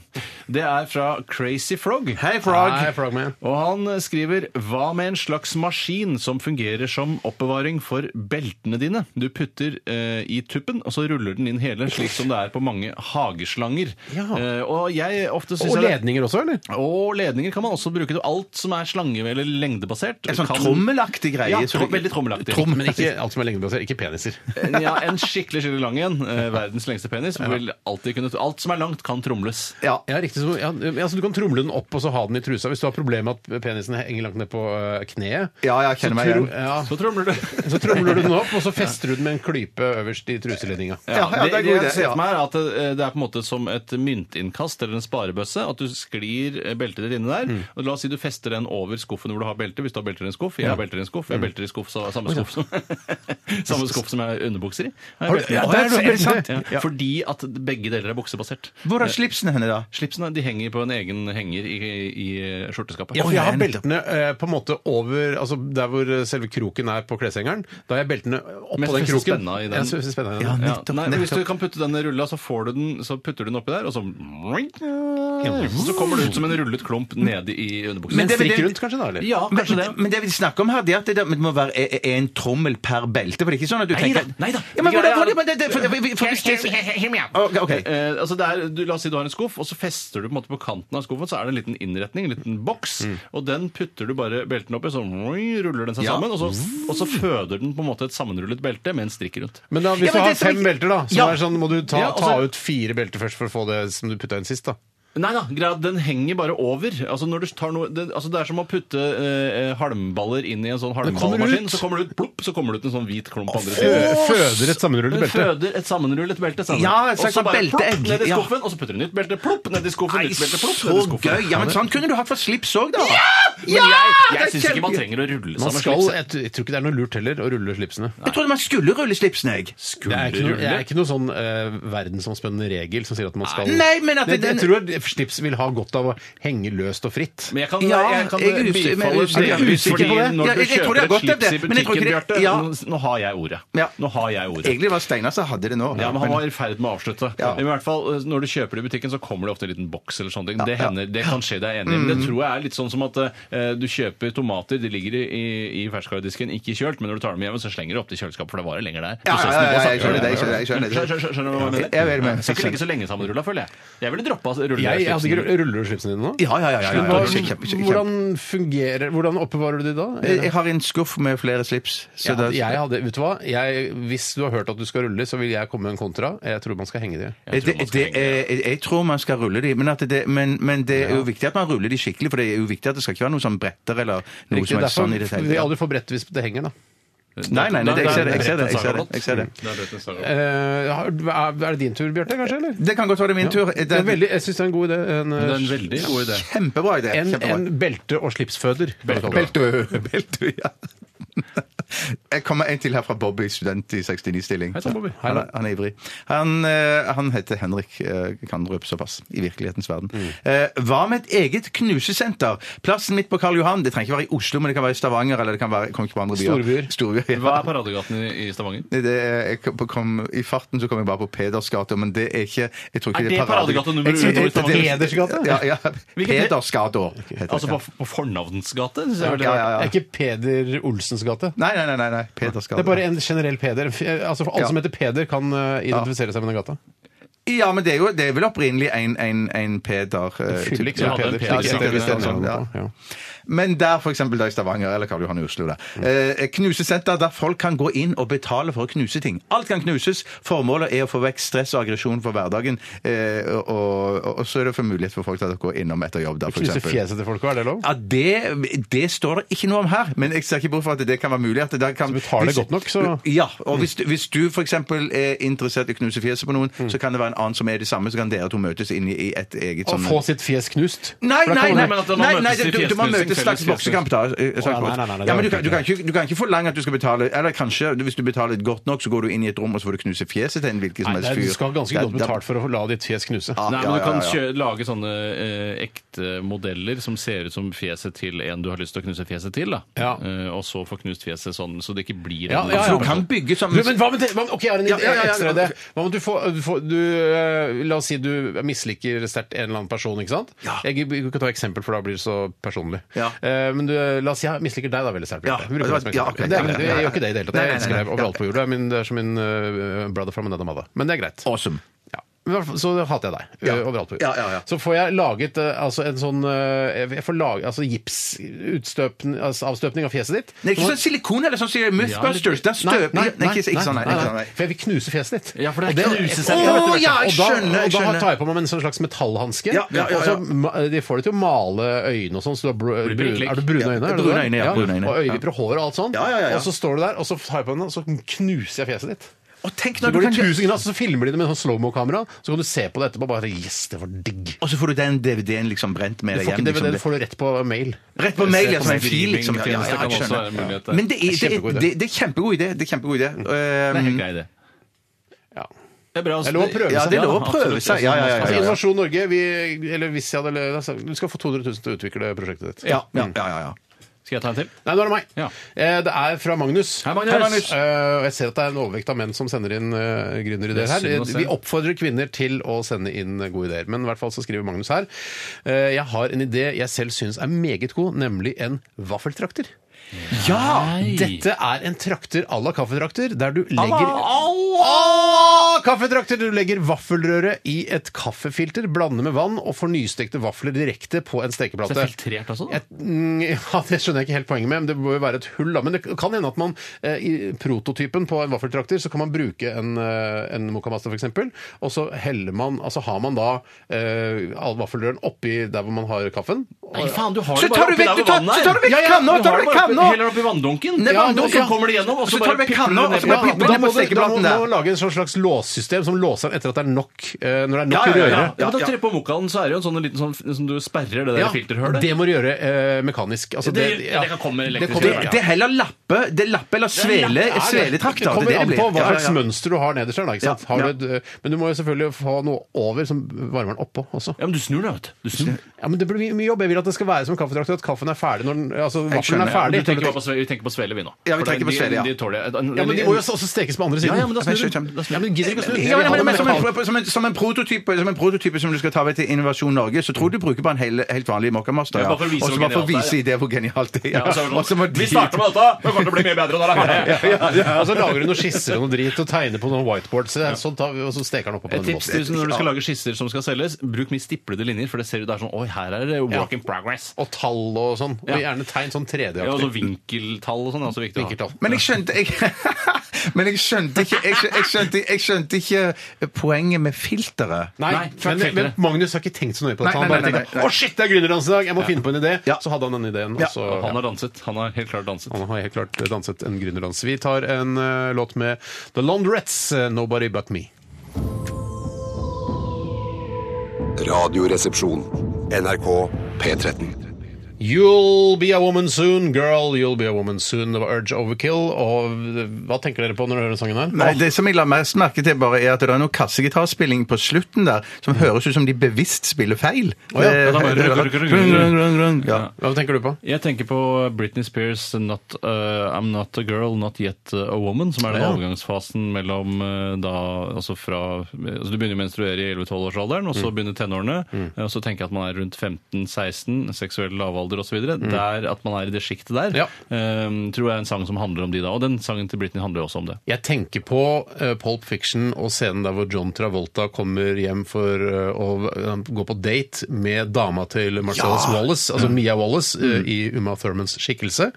B: Det er fra Crazy Frog. Hei,
A: Nei, Frogman.
B: Og han eh, skriver Hva med en slags maskin som fungerer som oppbevaring for beltene dine? Du putter eh, i tuppen, og så ruller den inn hele, slik som det er på mange hageslanger.
A: Ja.
B: Eh, og jeg ofte synes
A: Og
B: jeg det-
A: ledninger også, eller?
B: Og ledninger kan man også bruke til alt som er slange- eller lengdebasert.
C: En sånn
B: kan...
C: trommelaktig greie.
B: Ja,
C: så
B: tro-
C: du-
B: veldig trommelaktig.
C: Trommel-
A: Men ikke alt som er lengdebasert. Ikke peniser.
B: Eh, ja, en skikkelig skikkelig lang en. Eh, verdens lengste penis. Vil alltid kunne, alt som er langt, kan tromles.
C: Ja.
A: Ja, riktig. Så, ja, altså, du kan tromle den opp og så ha den i trusa hvis du har problemer med at penisen henger langt ned på øh, kneet.
C: Ja, jeg
A: så
C: kjenner meg igjen.
A: tro- Ja.
B: Så tromler du.
A: Så tromler du den opp, og så fester du den med en klype øverst i truseledninga.
B: Ja,
C: Ja, ja, det er
B: det,
C: god
B: det
C: idé,
B: jeg ser
C: ja.
B: for meg er at eh, det er på en måte som et myntinnkast eller en sparebøsse. At du sklir eh, beltet ditt inni
C: Mm.
B: der. Og la oss si du fester den over skuffen hvor du har belte. Hvis du har belter i en skuff. Jeg har belter i en skuff. Jeg har
C: Mm.
B: belter i skuff, så, samme, skuff som, samme skuff som jeg har underbukser i. Jeg har belter i.
C: ja, det er så- er det sant?
B: Ja, Fordi at begge deler er buksebasert. Eh,
C: Hvor er slipsene henne, da?
B: Slipsene de henger på en egen henger i, i eh, skjorteskapet.
A: Ja, for jeg har
C: nei, nettopp.
A: beltene eh, på en måte over altså der hvor eh, selve kroken er på kleshengeren. Da har jeg beltene
B: Men
A: oppå den
B: fester
A: kroken.
B: spenna i den.
A: Ja, så fester spenna i den.
B: Ja,
C: Nettopp,
B: nei, men Hvis du
C: nettopp.
B: kan putte den i rulla, så får du den, så putter du den oppi der, og så Så kommer det ut som en rullet klump nede i underbuksa.
C: Men det er vel
A: Strikk
C: det-
A: rundt, kanskje, da? eller?
B: Ja,
C: Men,
B: kanskje det.
C: men det vi snakker om her, det er at det, det må være e- e- en trommel per belte. For det er ikke sånn at du
B: Neida,
C: tenker
B: neida.
C: Ja, men hvordan
B: Ja, ja,
C: hvordan- men det- det- for- for- for- hvis det- Ok, ok.
B: Eh, altså det er, du, la oss si du har en skuff, og så fester du på, en måte på kanten av skuffen. Så er det en liten innretning, en liten boks,
A: Mm.
B: og den putter du bare belten oppi. Så ruller den seg sammen, og så, og så føder den på en måte et sammenrullet belte med en strikk rundt.
A: Men da, hvis du
C: Ja, men det
A: har
C: som
A: fem
C: ikke-
A: belter, da, så
C: Ja.
A: er det sånn, må du ta,
B: Ja, altså- og
A: ta
B: så-
A: ut fire belter først for å få det som du putta inn sist. da
B: Nei da, greia, er at den henger bare over. Altså, når du tar noe, det, altså, det er som å putte eh, halmballer inn i en sånn
A: kommer
B: halmballmaskin.
A: ut.
B: Så kommer det ut, plopp, så kommer det ut en sånn hvit klump på andre siden.
A: Fø- Føder et sammenrullet
B: Den
A: belte.
B: føder et sammenrullet belte. sammen.
C: Ja, et
B: og
C: slags
B: så bare
C: belteegg.
B: plopp ned i
C: Ja.
B: skuffen, og så putter du nytt belte. Plopp ned i skuffen,
C: Nei,
B: nytt belte. Plopp
C: så
B: ned i skuffen.
C: gøy! Ja, men sånn kunne du hatt for slips òg, da! Ja!
B: Men jeg, jeg
C: det er
B: syns ikke man
C: kjempe-
B: trenger å
A: Man
B: rulle sammen
A: skal,
B: slips.
A: jeg, t- jeg tror ikke det er noe lurt heller å rulle slipsene.
C: Jeg trodde man skulle rulle slipsen, jeg.
A: Det er ikke noe, det er
B: Skulderrulle.
A: ikke noe sånn eh, verdensomspennende regel som sier at man skal
C: Nei, men at
A: jeg,
C: den-
A: jeg tror at slips vil ha godt av å henge løst og fritt.
B: Men jeg kan,
C: Ja,
B: jeg kan
C: jeg er usikker- men jeg er
B: bifalle
C: usikker- jeg er
B: delvis,
C: usikker på
B: fordi
C: det. Ja,
B: når du
C: jeg- jeg tror
B: kjøper
C: det er
B: et
C: godt,
B: slips i
C: det, men jeg tror
B: butikken,
C: ikke det-
B: Bjarte,
C: ja.
B: nå, nå har jeg ordet.
C: Ja.
B: Nå har jeg ordet.
C: Egentlig var det Steinar som hadde det nå.
B: Ja, men Han var i ferd med å avslutte.
C: Ja.
B: Men I hvert fall, eh, Når du kjøper det i butikken, så kommer det ofte en liten boks. eller sånne ting. Det hender, det kan skje, det er jeg enig i. Men
C: Mm.
B: det tror jeg er litt sånn som at eh, du kjøper tomater, de ligger i, i- i ferskvaredisken, ikke kjølt, men når du tar dem hjem, så slenger du opp til kjøleskapet, for det varer lenger der.
C: Ja, ja, ja, ja,
B: Prosessen
C: jeg skjønner
B: går saktere.
C: det, jeg skjønner det, jeg skjønner det.
B: Skjønner- skjønner- skjønner du hva jeg mener?
C: Jeg er veldig med.
B: Ja, Skal ikke ligge så lenge sammenrulla, føler jeg. Jeg ville droppa
A: Jeg, jeg hadde ikke
B: rulle.
A: rull- ruller du slipsene dine nå?
C: Ja, ja, ja, ja, ja.
A: Men hva-
C: Kjempe- kjempe- kjempe-
A: Hvordan fungerer Hvordan oppbevarer du de da?
C: Jeg jeg har en skuff med flere slips. Så
A: Jeg
C: da-
A: hadde, jeg hadde, vet du hva? Jeg, hvis du har hørt at du skal rulle, så vil jeg komme med en kontra. Jeg tror man skal henge de.
C: Jeg tror, det, det, jeg, jeg tror man skal rulle de, men, at det, men, men det er jo viktig at man ruller de skikkelig, for det er jo viktig at det skal ikke være noe sånn bretter eller noe
A: Riktig,
C: som helst sånn i det
A: derfor vil jeg
C: hele tatt.
A: aldri få brett hvis det henger, da.
C: Nei, nei, nei, det- jeg ser det, jeg ser det, jeg ser det, jeg ser det.
B: det.
A: Eh, har- er er det din tur, Bjarte, kanskje? eller?
C: Det kan godt være det er min tur.
A: Det er veldig, jeg syns det er en god idé. En, eh,
B: Det er en veldig god idé.
C: Kjempebra idé.
A: en,
C: Kjempebra.
A: en belte- og slipsføder.
C: Beltø. Beltø, ja. Jeg kommer en til her fra Bobby, student i 69-stilling.
B: Hei sann, Bobby.
C: Han, er- han er ivrig. Han, eh, han heter Henrik, eh, kan røpe såpass, i virkelighetens verden.
B: Mm.
C: Eh, Hva med et eget knusesenter? Plassen midt på Karl Johan. Det trenger ikke være i Oslo, men det kan være i Stavanger, eller det kan være jeg kommer ikke på andre byer.
A: Storbyer.
C: Storbyer, ja.
B: Hva er Paradegaten i- i Stavanger?
C: Nei, Det er, jeg kom, kom, I farten så kom jeg bare på Pedersgata, men det er ikke jeg tror ikke
B: Er
C: det er
B: det Paradegata nummer
C: Jeg- jeg-
B: utover
C: jeg- det- det-
A: Pedersgata?
C: Ja, ja.
B: Hvilket-
C: Pedersgata. heter
B: Altså
C: det.
B: på, på fornavnens gate? synes jeg er veldig
C: Ja,
B: rart.
C: ja,
A: Det
C: ja.
A: er ikke Peder Olsens gate.
C: Nei, nei, nei. nei, nei. Pedersgata.
A: Det er bare en generell Peder. F- Altså, for alle
C: Ja.
A: som heter Peder, kan eh, identifisere seg med den gata.
C: Ja, men det er jo det er vel opprinnelig en, en, en Peder. eh,
A: Fyller
C: typ-
A: ikke
B: Ja,
A: som
B: det er
A: Peder.
B: Peder,
A: sikkert,
B: ja.
A: hvis det er
C: Ja.
A: sånn, ja.
C: Men der, for eksempel, da i Stavanger eller Karl Johan i Oslo, da. Eh, knusesenter der folk kan gå inn og betale for å knuse ting. Alt kan knuses. Formålet er å få vekk stress og aggresjon for hverdagen. Eh, og, og, og så er det for mulighet for folk til å gå innom etter jobb der, for
A: Knuse
C: eksempel.
A: fjeset til folk, er det lov?
C: Ja, det, det står det ikke noe om her, men jeg ser ikke bort fra at det kan være mulig. At det der kan,
A: Så betaler
C: hvis-
A: godt nok, så- Mm.
C: Ja, og hvis, hvis du f.eks. er interessert i å knuse fjeset på noen,
A: Mm.
C: så kan det være en annen som er det samme, så kan dere to møtes inn i i et eget
A: Å
C: sånn
A: få sitt fjes knust?
C: Nei,
A: For da kommer
C: nei, nei,
A: det-
B: men at man
C: nei,
B: møtes
C: nei
B: i
C: du, du, du må
B: fjesnusing,
C: møte et slags
B: felles fjesnusing.
C: boksekamp, da. eh,
A: Å,
C: slags
A: ja, nei,
C: boks.
A: nei, nei, det
C: Ja, men
A: orker
C: du kan, du, kan ikke, du kan ikke forlange at du skal betale Eller kanskje, hvis du betaler godt nok, så går du inn i et rom og så får du knuse fjeset til en hvilken som
A: Nei,
C: helst
A: det er,
C: fyr.
A: du skal ha ganske
C: Det er-
A: godt betalt for å la ditt fjes knuse.
B: Nei,
C: Ja,
B: men
C: ja,
B: du kan
C: ja, ja.
B: kjø- lage sånne eh, ekte modeller som ser ut som fjeset til en du har lyst til å knuse fjeset til. da.
A: Ja.
B: Eh, og så få knust fjeset sånn, så det ikke blir
A: Ja,
B: en-
A: ja,
C: For
A: ja.
C: du kan bygge sånn
A: Du, men hva med det? Hva, ok, jeg har en
C: Ja, ja, ja, ja.
A: ekstra idé. Hva med at du får, du får du, eh, La oss si du misliker sterkt en eller annen person, ikke sant?
C: Ja.
A: Jeg gidder ikke å ta eksempel, for da blir det så personlig.
C: Ja.
A: Eh, men du, eh, la oss si jeg misliker deg da veldig sterkt.
C: Ja.
A: Bjarte. Jeg bruker deg som
C: Ja,
A: eksempel.
C: ok.
A: Det er greit. Jeg gjør ikke det i det hele tatt.
C: Nei, nei,
A: Jeg
C: nei,
A: elsker deg
C: nei.
A: overalt på jorda. men Det er som min eh, brother from another mother. Men det er greit.
C: Awesome.
A: Ja. Men i hvert fall Så hater jeg deg ø, overalt. på jorda.
C: Ja, ja, ja.
A: Så får jeg laget eh, altså en sånn eh, Jeg får lage altså gipsavstøpning altså, avstøpning av fjeset ditt.
C: Nei, ikke
A: Så-
C: sånn silikon eller sånn som i Mythbusters. Der
A: Nei,
C: støper
A: nei,
C: Nei, ikke ikke sånn, nei.
A: nei,
C: ikke sånn,
A: nei.
C: nei.
A: For jeg vil knuse fjeset ditt.
B: Ja, for det er
A: Og
B: knusesenter,
A: Å,
C: vet du,
A: ja,
C: Bjarte.
A: jeg skjønner!
C: jeg
A: Og da har-
C: skjønner.
A: tar jeg på meg en sånn slags metallhanske.
C: Ja, ja, ja, ja.
A: og så ma- De får deg til å male øynene og sånn, så du har br
B: Blir
A: brun,
B: prikk.
A: er du brune øyne? er du
C: brune
A: det?
C: øyne, ja, brune øyne.
A: Og øyevipper og hår og alt sånn.
C: Ja, ja, ja, ja.
A: Og så står du der, og så tar jeg på den, og så knuser jeg fjeset ditt.
C: Og tenk
A: Så
C: når du
A: går de
C: kan
A: tusen grader, så filmer de det med sånn slowmo-kamera, så kan du se på det etterpå og bare Yes, det var digg!
C: Og så får du den DVD-en liksom brent med
A: Du
C: deg
A: får
C: hjem.
A: ikke DVD, du
C: Liksom.
A: får det rett på mail.
C: Rett på mail, ja, som en fil, liksom. Ja, ja,
B: Streamingtjeneste
C: ja, jeg
B: kan også være
C: skjønner.
B: en mulighet der.
C: Men det er, det,
A: Kjempegod idé.
C: er, det, det er kjempegod idé. Det er kjempegod idé.
B: Det er
C: Um,
B: helt grei idé.
A: Ja.
B: Det er bra, altså.
A: Det er lov å prøve
C: ja,
A: seg.
C: det er lov å prøve seg. Ja, ja, ja.
A: Altså,
C: ja, ja.
A: Innovasjon Norge, vi, eller hvis jeg hadde lø- altså, Du skal få 200 000 til å utvikle prosjektet ditt. Mm.
C: Ja, ja, ja, ja, ja.
B: Skal jeg ta en til?
A: Nei, nå er det meg.
B: Ja.
A: Eh, Det er fra Magnus.
B: Hei, Magnus. Hei, Magnus.
A: Eh, og jeg ser at det er en overvekt av menn som sender inn uh, gründerideer her.
B: Det er synd å se.
A: Vi oppfordrer kvinner til å sende inn eh, gode ideer, men i hvert fall så skriver Magnus her. eh, jeg har en idé jeg selv syns er meget god, nemlig en vaffeltrakter.
B: Nei.
A: Dette er en trakter à la kaffetrakter, der du legger
B: Alla-
A: Alla kaffetrakter. Du legger vaffelrøret i et kaffefilter, blander med vann og får nystekte vafler direkte på en stekeplate.
B: Så det er filtrert også, da?
A: Jeg- mm, ja, det skjønner jeg ikke helt poenget med, men det må jo være et hull, da. Men det kan hende at man eh, i prototypen på en vaffeltrakter, så kan man bruke en, eh, en mokamasta f.eks., og så heller man Altså har man da eh, all vaffelrøren oppi der hvor man har kaffen.
B: Nei, faen, du har
C: Så
B: det bare
C: tar du
B: oppi
C: vekk-
B: der
C: du
B: ved
C: tar-
B: vannet
C: så
B: her.
C: tar du vekk kanna,
B: du
C: tar
B: har
C: du
B: det
C: vekk
B: bare oppi-
C: kanna.
B: Heller oppi vanndunken.
C: Nei,
B: Ja,
C: vanndunken.
B: Så kommer det gjennom, og
C: Så
B: så
C: tar du
B: bare
C: vekk
B: pipper
C: kanna,
B: du
C: og
B: ned
C: så
B: på
C: bare
B: bakken.
C: pipper
A: altså, Men da må, du, da må
C: stekeblaten der.
A: du lage en sånn slags låssystem som låser den etter at det er nok eh, Når det er nok
C: Ja, ja, ja,
A: røre.
B: Ja, men da tre på mokalen, så er det jo en sånn liten sånn som du sperrer det der
A: Ja,
B: filterhølet.
A: Det må du gjøre eh, mekanisk. Altså,
B: Det- ja, det kan komme elektrisk.
A: kommer-
C: Det, det er heller lappe, det er lappe eller svele,
B: lappe, ja, ja.
C: sveletrakter.
A: Det kommer
C: er
A: an
C: det
A: på
C: blir.
A: hva
C: Ja, ja,
A: slags
C: ja.
A: mønster du har nederst. her, Da, ikke sant?
C: Ja,
A: Har du,
C: ja.
A: et, eh, men du må jo selvfølgelig få noe over som varmer den oppå også.
B: Ja, men du snur det, vet du. Du snur.
A: Ja, men Det blir mye- mye jobb. Jeg vil at det skal være som en kaffetrakter, at kaffen er ferdig når den, altså, vaffelen
C: skjønner,
A: er
C: ja,
B: Du
A: ferdig.
B: tenker bare på, sve- vi tenker på svele, vi nå.
C: Ja, vi
B: For
C: tenker på
B: de-
C: svele, ja.
B: De tåler,
A: ja, men De må jo også stekes på andre siden.
B: Ja, ja, men da snur du. Da snur
A: Ja,
B: du.
A: men du gidder ikke å snu.
C: Ja, men, men, men,
A: Ja,
C: som,
A: men-
C: en, som, en, som, en prototype, som en prototype som du skal ta med til Innovasjon Norge, så tror jeg du bruker bare en hel, helt vanlig mokkamaster.
B: Ja, bare for å vise
C: Og så
B: hvor
C: bare for å
B: genialt
C: vise det hvor genialt det er.
B: Ja, og så er det sånn,
C: Og så må de-
B: Vi starter med dette! Det kommer til å bli mye bedre når det er ferdig.
A: Og så Altså, lager du noen skisser og noe drit og tegner på noen whiteboards, så det er sånn tar vi- og så steker den oppå på
B: Et
A: den
B: tips
A: måten.
B: til når du skal lage skisser som skal selges, bruk mye stiplede linjer, for det ser du der sånn Oi, her er det work in progress.
A: Og tall og sånn. Og
B: Ja.
A: gjerne tegn sånn
B: Ja, og så
A: 3D-aktig.
B: vinkeltall og sånn er også viktig. å ha.
A: Vinkeltall.
C: Men jeg skjønte jeg, Men jeg skjønte ikke jeg skjønte, jeg, skjønte, jeg skjønte ikke poenget med filteret.
A: Nei,
B: Nei,
A: men,
B: filtre.
A: men Magnus har ikke tenkt så nøye på
C: Nei,
A: dette. Han
C: nei,
A: bare
C: nei, nei,
A: tenkte
C: nei.
A: 'Å, shit, det er gründerdans i dag! Jeg må finne på en idé!'
C: Ja.
A: Så hadde han den ideen.
C: Ja.
A: Og så,
B: Og Han
A: ja.
B: har danset. Han har helt klart danset.
A: Han har helt klart danset en gründerdans. Vi tar en eh, låt med The Laundrettes, eh, 'Nobody But Me'.
I: Radioresepsjon. NRK P13.
A: You'll be a woman soon, girl, you'll be a woman soon. Det var Urge Overkill. Og eh, hva tenker dere på når dere hører sangen her?
C: Nei, Det som jeg la mest merke til, bare er at det er noe kassegitarspilling på slutten der som
B: Mm.
C: høres ut som de bevisst spiller feil.
A: Å ja,
C: Eh,
A: ja, da
B: bare-
C: Ja.
A: Hva tenker du på?
B: Jeg tenker på Britney Spears' not, eh, 'I'm Not A Girl, Not Yet A Woman', som er den
A: Ja.
B: overgangsfasen mellom eh, da altså fra altså Du begynner å menstruere i 11-12-årsalderen,
A: Mm.
B: og så begynner tenårene. eh, Og så tenker jeg at man er rundt 15-16, seksuell lavalder osv. Der At man er i det sjiktet der,
A: Mm. Ja.
B: eh, tror jeg er en sang som handler om de da. Og den sangen til Britney handler jo også om det.
A: Jeg tenker på eh, Pulp Fiction og scenen der hvor John Travolta kommer hjem for eh, å eh, gå på date med dama til Marcellus Wallace, altså Mia Wallace, eh, i Uma Thurmans skikkelse.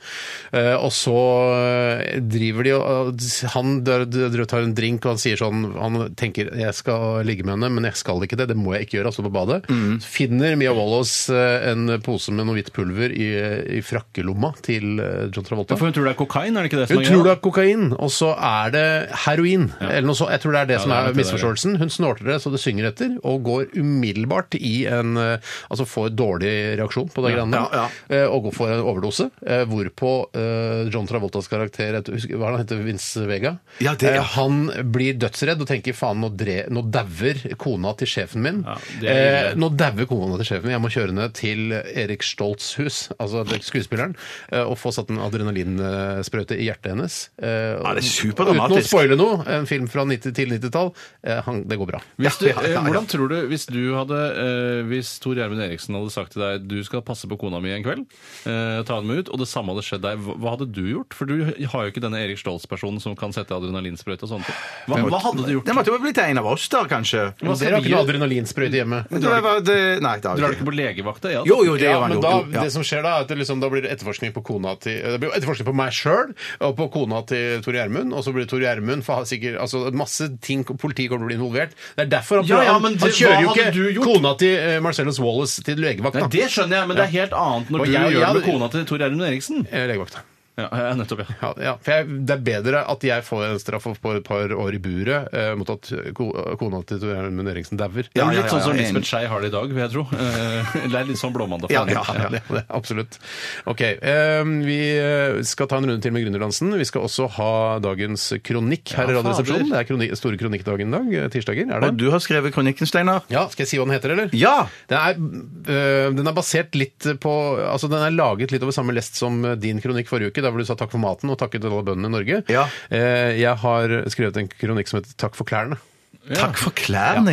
A: Eh, og så eh, driver de og og Han dør- dør- tar en drink, og han sier sånn Han tenker 'jeg skal ligge med henne, men jeg skal ikke det', det må jeg ikke gjøre, altså på badet. Så finner Mia Wallace eh, en pose med noe hvitt pulver i, eh, i frakkelomma til eh, John Travolta.
B: For hun tror det er kokain, er det ikke det? som
A: Hun
B: er
A: tror det
B: greia?
A: er kokain, og så er det heroin. Eller noe så, jeg tror det er det som
B: det er
A: er
B: nok det der, ja.
A: misforståelsen. Hun snorter det så det synger etter, og går umiddelbart i en eh, Altså får dårlig reaksjon på det greiene der, eh, og går for en overdose. eh, Hvorpå eh, John Travoltas karakter jeg husker- Hva er det han heter? Vince Vega?
C: Ja, det-
A: Eh, Han blir dødsredd og tenker faen, nå, dre, nå dauer kona til sjefen min.
B: Ja, det er
A: Eh, nå dauer kona til sjefen min, jeg må kjøre ned til Erik Stolts hus, altså skuespilleren, eh, og få satt en adrenalinsprøyte i hjertet hennes. Ja,
C: det er superdramatisk.
A: Uten å spoile noe, en film fra 90 til 90-tall, eh, han- det går bra.
B: Hvis du, eh, Hvordan tror du, hvis du hadde eh, Hvis Tor Gjermund Eriksen hadde sagt til deg du skal passe på kona mi en kveld, eh, ta henne med ut, og det samme hadde skjedd deg, hva, hva hadde du gjort? For du har jo ikke denne Erik Stoltz-personen som kan sette adrenalinsprøyte og sånne ting. Hva, hva hadde du gjort?
C: Det måtte jo blitt en av oss, da, kanskje.
B: Hva
A: Dere har
B: skal
A: ikke noe
B: vi gjøre?
A: adrenalinsprøyte hjemme.
C: Det var- det- Nei, det har
B: Drar du
C: vi ikke.
B: ikke på legevakta? Ja, altså.
C: Jo, jo, det
A: Ja,
C: gjør han
A: men
C: jo.
A: da,
C: Jo, ja.
A: det som skjer da, er at det liksom, da blir det etterforskning på kona til Det blir jo etterforskning på meg sjøl og på kona til Tore Gjermund, og så blir det Tore Gjermund for han har sikkert altså, Masse ting politiet kommer til å bli involvert. Det er derfor han,
B: Ja, ja, men
A: han,
B: det-
A: han kjører
B: hva hadde
A: jo
B: du
A: ikke
B: gjort?
A: kona til eh, Marcellus Wallace til legevakt,
B: Nei,
A: da.
B: det skjønner jeg, men det er helt
A: Og
B: annet når du
A: jeg-
B: gjør det med
A: jeg-
B: kona til Tor Gjermund Eriksen.
A: Eh, Legevakt, da.
B: Ja, ja, nettopp, ja.
A: Ja, ja, for jeg, Det er bedre at jeg får en straff på et par år i buret eh, mot at ko, kona til Tore Gjermund Eriksen dauer.
B: Det
C: Ja,
B: er
C: ja,
B: litt
C: ja,
B: sånn som
C: ja,
B: Lisbeth Skei har det i dag, vil jeg tro. Eh, Det er litt sånn blåmandag. for
C: Ja,
B: mange.
C: ja,
A: Ja, det, det, absolutt. Ok, eh, Vi eh, skal ta en runde til med Gründerdansen. Vi skal også ha dagens kronikk her i Radioresepsjonen. Det er kroni store kronikkdagen i dag. eh, Tirsdager, er det?
C: Og du har skrevet kronikken, Steinar?
A: Ja, Skal jeg si hva den heter, eller?
C: Ja!
A: Den er, øh, den er basert litt på Altså, den er laget litt over samme lest som din kronikk forrige uke, der hvor du sa takk for maten og takket alle bøndene i Norge.
C: Ja.
A: Eh, Jeg har skrevet en kronikk som heter Takk for klærne.
C: Takk for klærne,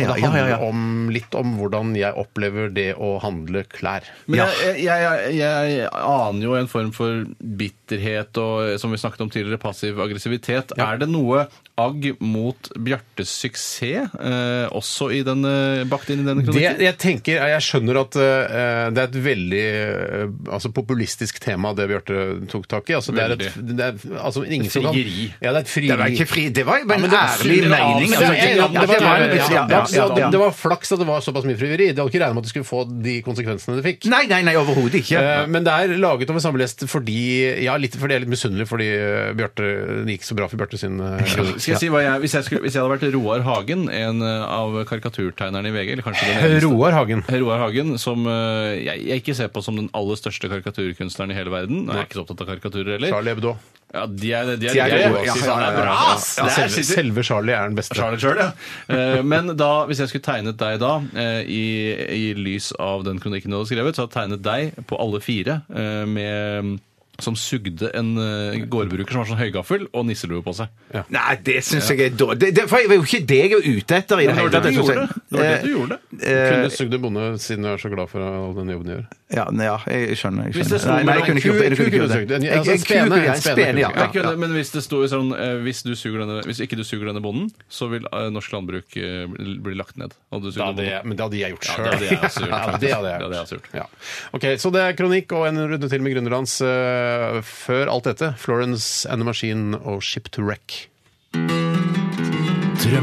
A: Ja,
C: ja.
A: og det
C: ja, ja,
A: handler
C: ja.
A: Om, litt om hvordan jeg opplever det å handle klær.
B: Men
C: Ja.
B: jeg, jeg, jeg, jeg aner jo en form for bitterhet og, som vi snakket om tidligere, passiv aggressivitet. Er det noe agg mot Bjartes suksess eh, også i denne, bakt inn i denne
A: Det,
B: kronikken?
A: jeg tenker, jeg skjønner at eh, det er et veldig eh, altså populistisk tema, det Bjarte tok tak i. Altså, det er et, det er, altså, ingen som kan-
B: Frieri.
A: Ja, det er et frieri.
C: Det var ikke fri, det var jo bare en
B: det
C: ærlig
B: synder av
C: mening.
B: seg.
A: Men det er-
C: altså.
B: Ja,
A: det var-
C: det var en-
A: det
C: ja,
A: var-
C: ja, ja, ja.
A: Det var flaks at det var såpass mye frieri. Det hadde ikke regnet med at det skulle få de konsekvensene det fikk.
C: Nei, nei, nei, overhodet ikke.
A: Eh, Men det er laget over samme lest fordi ja, litt, fordi jeg er litt misunnelig fordi eh, Bjarte, det gikk så bra for Bjarte sin eh,
B: Skal jeg si hva jeg, hvis, jeg skulle, hvis jeg hadde vært Roar Hagen, en eh, av karikaturtegnerne i VG eller kanskje den eneste,
A: Roar Hagen.
B: Roar Hagen, som eh, jeg, jeg ikke ser på som den aller største karikaturkunstneren i hele verden. Jeg er ikke så opptatt av karikaturer heller.
A: Charlie Hebdo.
B: Ja, de er, de
A: er
B: er, de er
A: gode,
B: ja,
A: synes
B: ja,
A: jeg.
B: det er bra,
A: Ja,
B: ass.
A: ja,
B: Det er-
A: selve, selve Charlie er den beste.
B: Charlie sjøl, ja. Eh, Men da, hvis jeg skulle tegnet deg da, eh, i, i lys av den kronikken du hadde skrevet, så hadde jeg tegnet deg på alle fire eh, med som sugde en eh, gårdbruker som har sånn høygaffel og nisselue på seg.
C: Nei, det syns jeg er dårlig. Det, det, for jeg var jo ikke det jeg var ute etter. i det
B: det var
C: hele
B: det du
C: tatt,
B: gjorde. Eh,
C: synes jeg. Eh,
B: Det var det du gjorde.
A: Kunne sugd en bonde siden du er så glad for all den jobben du gjør.
C: Ja, nei, ja jeg skjønner. Jeg
B: Hvis det
C: skjønner. Nei,
B: sto
C: nei, jeg
B: mellom
C: kunne ikke gjort
A: ku-
C: det. Jeg kunne
A: ku-
C: ikke gjort
A: kunne
C: det.
A: du søkt.
C: Jeg-
A: Altså,
C: jeg-
A: spene,
C: ku- ja,
A: en
C: en
A: spene
C: Spene, ja.
A: kunne
B: Jeg
C: ja.
B: kunne, men hvis det sto i sånn eh, hvis, du suger denne, hvis ikke du suger denne bonden, så vil eh, norsk landbruk eh, bli bli lagt ned. Hadde du sugd
A: Da hadde jeg,
B: denne bonden.
A: men det hadde jeg gjort
B: Ja,
A: sjøl.
B: det hadde jeg også gjort, faktisk.
A: det hadde jeg
B: Det hadde jeg også gjort.
A: Ja. Ok, Så det er kronikk og en runde til med Gründerlands. eh, før alt dette, Florence and the Machine og Ship to Wreck.
E: Drømmer,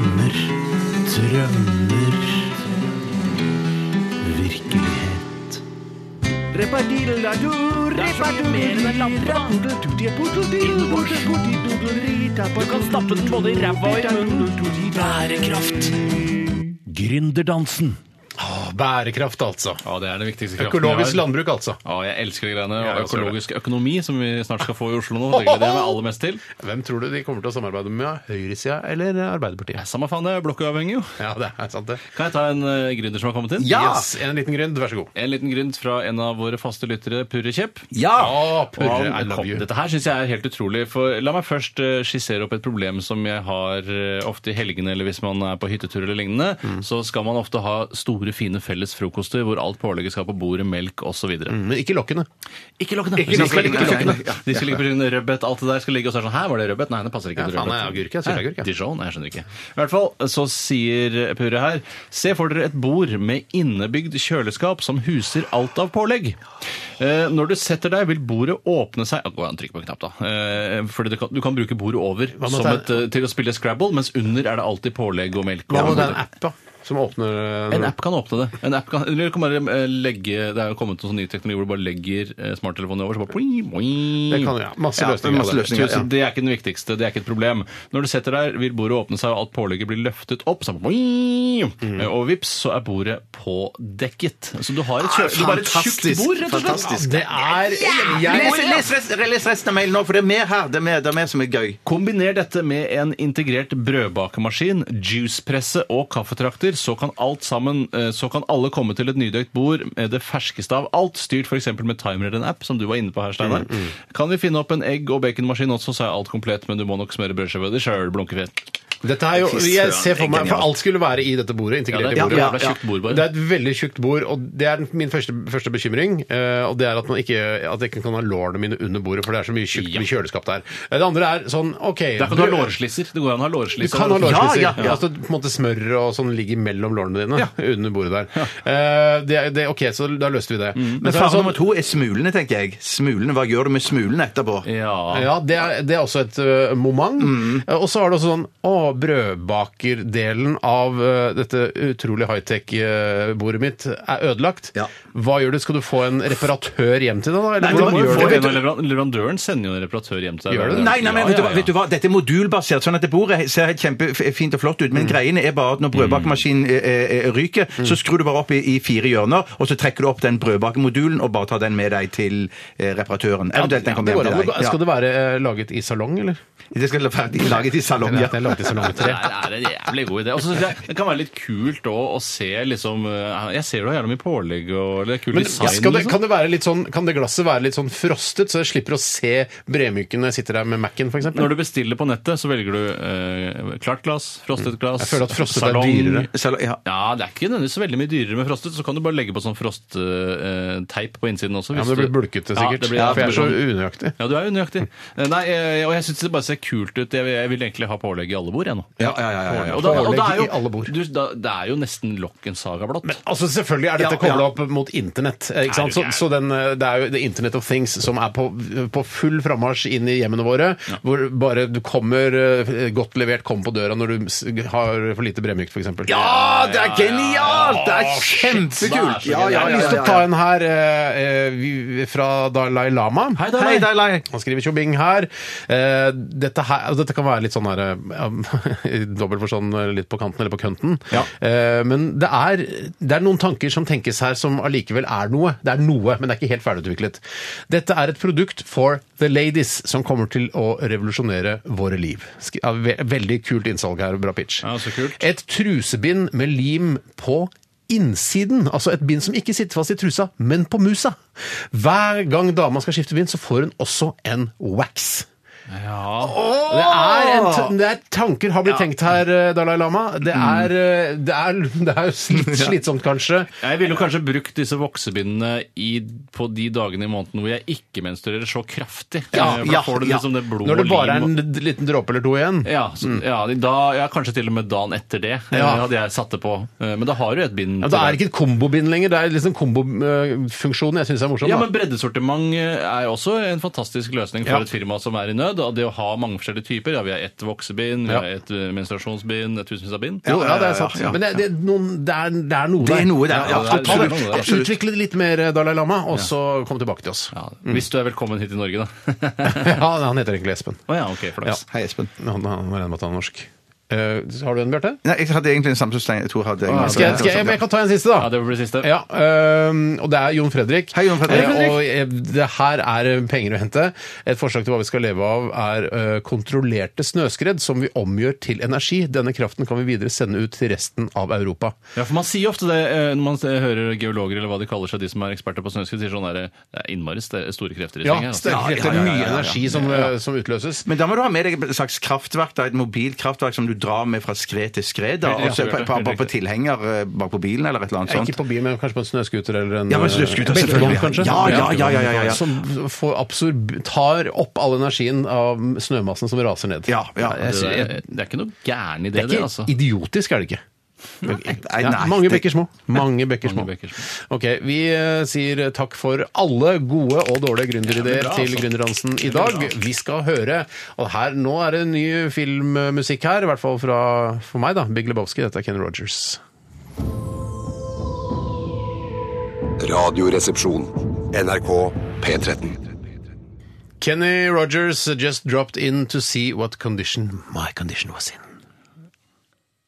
E: drømmer Virkelighet Bærekraft Gründerdansen
A: Bærekraft, altså.
B: Ja, det er den viktigste kraften
A: Økologisk
B: vi har.
A: landbruk, altså.
B: Ja, jeg elsker de greiene.
A: Ja,
B: Og
A: jeg ser det.
B: økologisk økonomi, som vi snart skal få i Oslo nå. Det gleder jeg meg aller mest til.
A: Hvem tror du de kommer til å samarbeide med? Høyresida eller Arbeiderpartiet?
B: Samme faen, det er blokkuavhengig, jo.
A: Ja, det er sant, det.
B: Kan jeg ta en uh, gründer som har kommet inn?
A: Yes, en liten grunn, vær så god.
B: En liten gründ fra en av våre faste lyttere, Purre Kjepp.
A: Å,
B: Og han
A: Purre, I love
B: kom-
A: you.
B: Dette her syns jeg er helt utrolig. For la meg først eh, skissere opp et problem som jeg har eh, ofte i helgene eller hvis man er på hyttetur eller lignende. Så skal man ofte ha store, fine felles frokoster hvor alt pålegget skal på bordet, melk osv.
A: Men Mm, ikke lokkene.
B: Ikke lokkene! De
C: lokkene,
B: skal ligge på
C: nei,
B: kjøkkenet.
C: nei, ja.
B: De skal ligge på sin rødbet, alt det der skal ligge, og så er det sånn Hæ, var det rødbet? Nei, det passer ikke
A: Ja,
B: til
A: faen,
B: rødbet.
A: nei, agurk, ja, sylteagurk, ja.
B: Hæ? Dijon? Nei, jeg skjønner ikke. I hvert fall så sier Purre her Se for dere et bord med innebygd kjøleskap som huser alt av pålegg. Eh, Når du setter deg, vil bordet åpne seg Å, Gå an, trykk på en knapp, da. Eh, Fordi du kan, du kan bruke bordet over
A: med
B: som
A: at
B: et,
A: det
B: eh, til å spille Scrabble, mens under er det alltid pålegg og melk.
A: Hva
B: og
A: med den appa som åpner eh,
B: en app kan åpne det. En app kan, eller du kan bare eh, legge, Det er jo kommet noen sånn ny teknologi hvor du bare legger eh, smarttelefonen over, så bare boing, boing.
A: Det kan, ja. Masse
C: Ja,
A: løsninger.
C: masse
A: på det.
C: løsninger. ja.
B: Så det er ikke den viktigste, det er ikke et problem. Når du setter deg, vil bordet åpne seg, og alt pålegget blir løftet opp. Så boing,
A: Mm.
B: Eh, Og vips, så er bordet pådekket. Så du
A: Ah,
B: har et, kjø du har et tjukt
C: fantastisk,
B: bord, rett og slett.
C: fantastisk.
A: Det er jeg,
C: Les, les, resten- les resten av mailen nå, for det er mer her. Det er mer, det er mer som er gøy.
B: Kombiner dette med en integrert brødbakemaskin, juicepresse og kaffetrakter, så kan alt sammen, eh, så kan alle komme til et nydøkt bord med det ferskeste av alt, styrt f.eks. med timer eller en app, som du var inne på her, Steinar. Kan vi finne opp en egg- og baconmaskin også, så er alt komplett, men du må nok smøre brødskiva di sjøl, blunkefjes.
A: Dette er jo, jeg ser for meg, for alt skulle være i dette bordet,
B: Ja,
A: integrert
B: det
A: i
B: er
A: bordet.
B: et jævla tjukt bord,
A: Det er
B: bare.
A: et veldig tjukt bord, og det er den- min første, første bekymring. eh, og det er at, man ikke, at jeg ikke kan ha lårene mine under bordet, for det er så mye tjukt
B: Ja.
A: med kjøleskap der. Det andre er sånn, ok
B: Der kan du ha
A: brød-
B: lårslisser. Det går an å ha
A: Du
B: lårslisser.
A: kan ha lårspisser.
C: Ja, ja, ja.
A: Altså, på en måte smør og sånn ligger mellom lårene dine under bordet der. Eh, det, er- det, ok, så da løste vi
B: Mm.
A: det. Men
C: Men
A: så er det
C: fare
A: sånn-
C: nummer to er smulene, tenker jeg. Smulene, Hva gjør du med smulene etterpå?
B: Ja.
A: Ja, det er, det er også et ø, moment. Eh, Og så er det også sånn Å, brødbakerdelen av ø, dette utrolig high-tech-bordet mitt er ødelagt.
C: Ja.
A: Hva gjør du? Skal du få en reparatør hjem til deg, da? Eller
C: Nei, du
A: hvordan
C: må jo
A: gjør du
C: få
A: det?
C: en-
B: Leverandøren- Leverandøren sender jo en reparatør hjem til deg.
A: Gjør det?
C: Nei, nei, men
B: Ja,
C: vet du
B: ja,
C: hva-
B: ja.
C: vet du hva, dette er modulbasert, sånn at det bordet ser helt kjempefint og flott ut, men greiene er bare at når brødbakemaskinen eh, eh, ryker, så skrur du bare opp i, i fire hjørner, og så trekker du opp den brødbakemodulen og bare tar den med deg til eh, reparatøren. Eventuelt den
A: Det
C: kommer
A: går
C: hjem
A: an.
C: til deg.
A: Skal
C: Ja.
A: det være ø, laget i salong, eller?
C: Det skal være ferdig laget i salongen.
A: Det er laget i salong.
B: Det er en jævlig god idé. Og så synes jeg Det kan være litt kult også, å se liksom eh, Jeg ser du har jævlig mye pålegg og eller kul
A: Men
B: design.
A: skal det,
B: liksom.
A: kan, det være litt sånn, kan det glasset være litt sånn frostet, så jeg slipper å se bremyken når jeg sitter der med Mac-en, f.eks.?
B: Når du bestiller på nettet, så velger du eh, klart glass, frostet glass,
A: Mm. Jeg føler at frostet er
B: salong.
A: dyrere.
C: Selv- Mm, ja.
B: Ja, det er ikke nødvendigvis så veldig mye dyrere med frostet. Så kan du bare legge på sånn frostteip på innsiden også.
A: Ja, men
B: hvis
A: det blir
B: du-
A: bulkete,
B: Ja,
A: sikkert.
B: det blir-
A: for jeg er så
B: det blir-
A: unøyaktig.
B: Ja, du er jo nøyaktig. Eh, Nei, eh, og jeg syns det bare ser kult ut. Jeg vil, jeg vil egentlig ha pålegg i alle bord, jeg nå.
C: Ja, ja, ja, ja, ja.
B: Og da, og
A: pålegg
B: da er jo,
A: i alle bord.
B: Du, da, det er jo nesten Lokken Saga blått.
A: Altså, selvfølgelig er dette
C: Ja, ja.
A: koblet opp mot internett. eh, Ikke sant? Så, så den, eh, det er jo The Internet of Things som er på, på full frammarsj inn i hjemmene våre. Hvor bare du kommer eh, godt levert, kommer på døra når du s- har for lite bremykt, f.eks.
C: Ja, det er genialt! Det er kjempekult! Ja, ja,
A: Jeg har
C: ja,
A: lyst til å ta en her eh, eh, vi- fra Dalai Lama.
C: ja. Hei, Dalai.
A: Han skriver tjobing her. Eh, dette her. og Dette kan være litt sånn her eh, i Dobbelt for sånn eh, litt på kanten eller på kønten. Eh, men det er, det er noen tanker som tenkes her som allikevel er noe. Det er noe, men det er ikke helt ferdigutviklet. Dette er et produkt for the ladies som kommer til å revolusjonere våre liv. Sk- ja, ve- Veldig kult innsalg her. Bra pitch.
B: Ja, så kult.
A: Et trusebind med lim på innsiden, altså et bind som ikke sitter fast i trusa, men på musa. Hver gang dama skal skifte bind, så får hun også en wax. Det er, en t det er tanker har blitt tenkt her, eh, Dalai Lama. Det
B: Mm.
A: er, eh, det er, det er jo slitt, slitsomt, kanskje.
B: Jeg ville jo kanskje brukt disse voksebindene i, på de dagene i måneden hvor jeg ikke menstruerer så kraftig.
C: Ja,
B: Eh, for da
C: ja,
B: får du
C: ja.
B: liksom det blod
A: Når det
B: og
A: bare er
B: lim og-
A: en d- liten dråpe eller to igjen.
B: ja, så, ja, da, ja, kanskje til og med dagen etter det eh,
A: Ja.
B: hadde jeg satt det på. Eh, Men da har du et bind.
A: Ja,
B: til
A: det er ikke et kombobind lenger, det er liksom kombofunksjonen jeg syns er morsom.
B: Ja,
A: sånn, da.
B: men Breddesortiment eh, er jo også en fantastisk løsning for
A: Ja.
B: et firma som er i nød. og Det å ha mange forskjellige typer. Ja, Vi har ett
A: Ja.
B: voksebind, vi har ett eh, menstruasjonsbind, et tusenvis av bind.
A: Jo, ja, det er sant.
C: ja, ja.
A: Men det, det, er noen, det, er, det er noe
C: Det er noe der, ja,
A: Så ta det.
B: absolutt,
C: absolutt.
A: Utvikle det litt mer, eh, Dalai Lama, og så kom tilbake til oss.
B: Ja, Hvis du er velkommen hit til Norge, da.
A: Ja, han heter egentlig Espen.
B: Å ja, ok, flaks.
C: Hei, Espen.
A: Han, han regner med at han er norsk. Eh, har du en, Bjarte?
C: Nei, jeg hadde egentlig en samtale jeg tror jeg hadde.
A: Skal jeg, skal jeg, men jeg kan ta en siste, da.
B: Ja, det blir siste.
A: Ja, øhm, og det er Jon Fredrik.
C: Hei, Jon Fredrik.
A: Eh, Og eh, det her er eh, penger å hente. Et forslag til hva vi skal leve av er eh, kontrollerte snøskred som vi omgjør til energi. Denne kraften kan vi videre sende ut til resten av Europa.
B: Ja, for Man sier ofte det eh, når man eh, hører geologer eller hva de kaller seg, de som er eksperter på snøskred, sier sånn der, eh, det er innmari st- store krefter i
A: Ja,
B: sving her. altså.
A: sterke krefter.
C: ja, ja, ja,
A: Mye
C: ja.
A: energi som, eh, som utløses.
C: Men da må du ha med deg et slags kraftverk, da, et mobilkraftverk som du drar med fra skred til skred. Da,
B: Helt riktig,
C: også
B: helt
C: på,
B: riktig,
C: på,
B: helt
C: på, på
B: riktig.
C: tilhenger eh, bak på bilen eller et eller annet
A: Ikke
C: sånt.
A: på bil, men kanskje på en snøskuter eller en
C: Ja, men
A: eh,
C: snøskuter,
A: beltevogn,
C: selvfølgelig.
A: kanskje?
C: Ja, ja, ja, ja, ja, ja.
A: Som får absorb tar opp all energien av snømassen som raser ned.
C: Ja, ja. Eh,
A: Jeg sy-
B: Altså, Det
A: jeg-
B: er, det er ikke noe gæren idé,
A: Det
B: det,
A: er ikke
B: altså.
A: idiotisk, er det ikke?
C: Nei,
A: Ja,
C: eh, nei,
A: mange
C: det-
A: bekker små. Mange bekker små.
B: Mange bekker
A: Ok, Vi eh, sier takk for alle gode og dårlige gründerideer
B: Ja, det er bra,
A: til
B: altså.
A: Gründerdansen i dag. Vi skal høre og her, Nå er det ny filmmusikk her, i hvert fall fra, for meg, da. Big Lebowski. Dette er Ken Rogers.
I: Radioresepsjon. NRK P13.
A: Kenny Rogers just dropped in to see what condition my condition was in.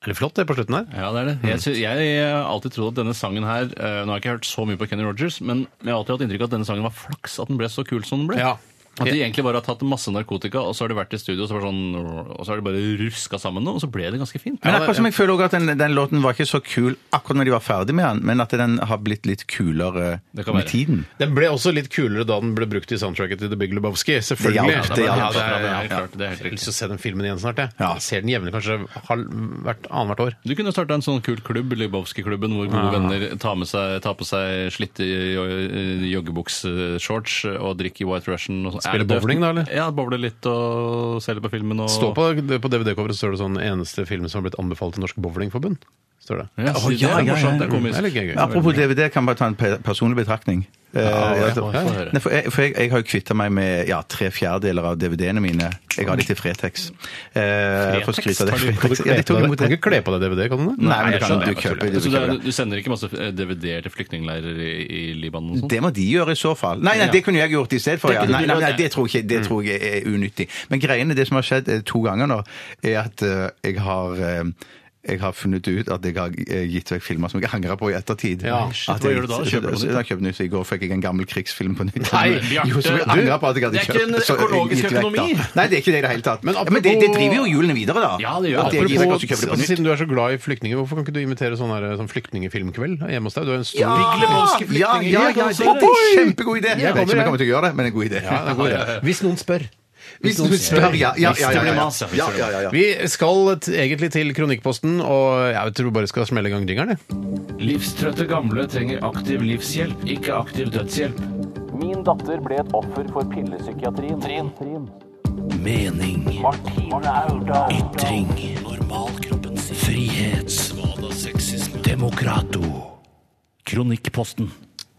A: Er det flott, det på slutten her?
B: Ja, det er det. Jeg, sy- jeg har alltid trodd at denne sangen her eh, Nå har jeg ikke hørt så mye på Kenny Rogers, men jeg har alltid hatt inntrykk av at denne sangen var flaks at den ble så kul som den ble.
A: Ja.
B: At de egentlig bare har tatt masse narkotika, og så har de vært i studio, og så, bare sånn, og så har de bare ruska sammen noe, og så ble det ganske fint.
C: Men akkurat som jeg føler også at den, den låten var ikke så kul akkurat når de var ferdig med den, men at den har blitt litt kulere
B: Det kan
C: med
B: være.
C: tiden.
A: Den ble også litt kulere da den ble brukt i soundtracket til The Big Lebowski.
C: Det
A: Selvfølgelig.
C: hjalp, det
A: Ja,
C: hjalp.
A: det er-
B: Ja, det er helt
A: ja.
B: klart, det er helt
A: Jeg har
B: riktig.
A: lyst til å se den filmen igjen snart. Jeg,
C: Ja.
A: jeg ser den jevnlig, kanskje halv, hvert annet år.
B: Du kunne starta en sånn kul klubb, Lybowski-klubben, hvor gode venner tar, med seg, tar på seg slitte jo- joggebukseshorts og drikker White Russian. Og sånn.
A: Spiller
B: Er det
A: bowling da, eller?
B: Ja, bowler litt og selger på filmen. Og...
A: Står på, på DVD-coveret står det sånn 'eneste film som har blitt anbefalt til Norsk Bowlingforbund'. Står det.
B: Ja,
C: Å,
B: det
C: ja,
B: er
C: ja, ja.
B: morsomt. Det er
A: Det er
B: komisk.
A: litt gøy.
C: Apropos DVD, kan jeg bare ta en pe- personlig betraktning. Eh,
A: ja,
C: altså-
A: ja,
B: ja.
C: Nei, for jeg, for jeg, jeg har jo kvitta meg med ja, tre fjerdedeler av DVD-ene mine. Jeg har de til Fretex. Eh, for å skryte av det.
A: Kan du
C: Fretex.
A: kle
C: Ja, de
A: på
C: tok
A: deg-
C: imot
A: kan du
C: det.
A: ikke kle på deg DVD, kan du det?
C: Nei, men
B: Jeg
C: det kan
B: skjønner,
C: du
B: jeg
C: kjøpe.
B: skjønner.
C: Du
B: Så det er-
C: kjøper.
B: du sender ikke masse eh, DVD-er til flyktningleirer i, i Libanon og sånn?
C: Det må de gjøre i så fall. Nei, nei det kunne jeg gjort i stedet for. Ja.
B: kunne
C: Nei, nei,
B: du gjort, Mm.
C: nei,
B: ja.
C: det tror jeg, ikke- det tror jeg er unyttig. Men greiene, det som har skjedd eh, to ganger nå, er at eh, jeg har eh, jeg har funnet ut at jeg har eh, gitt vekk filmer som jeg angrer på i ettertid.
A: Ja,
B: shit,
C: At
B: hva
C: jeg-
B: gjør du da? Kjøper du på
C: så-
B: nytt?
C: Jeg kjøpte nytt. I går fikk jeg en gammel krigsfilm på nytt.
A: Nei, Bjarte,
C: jo, som jeg
A: du,
C: angrer på at jeg hadde
B: det er ikke en
C: kjøpt, så jeg
B: økologisk
C: gitt vekk, da.
B: økonomi.
C: Nei, det er ikke det i det hele tatt. Men,
A: Men
C: men det, det driver jo
A: apropos-
C: hjulene videre, da.
B: Ja, det gjør
C: At
B: det.
C: jeg gir vekk og
A: Apropos,
C: så kjøper jeg det på
A: altså,
C: nytt.
A: siden du er så glad i flyktninger, hvorfor kan ikke du invitere sånn, her, sånn flyktningefilmkveld hjemme hos deg? Du er en stor
C: Ja,
A: Big Lebowski
C: ja,
A: flyktning.
C: ja, ja,
A: kan
C: det
A: du si
C: er
A: det?
C: en kjempegod idé. Jeg vet ikke om
A: kommer,
C: jeg kommer til å gjøre det, men en god idé.
A: Ja, det er god idé. Hvis noen spør.
C: Hvis noen spør, ja. ja, ja, ja,
B: det
C: ja,
B: blir
C: ja.
B: mas, ja, hvis
C: ja,
B: det
C: ja, ja, ja.
A: Vi skal t egentlig til Kronikkposten, og jeg tror bare skal smelle i gang jingeren. jeg.
J: Livstrøtte gamle trenger aktiv livshjelp, ikke aktiv dødshjelp. Min datter ble et offer for pillepsykiatrien.
E: Mening. Ytring. Normalkroppens frihet. Demokrato. Kronikkposten.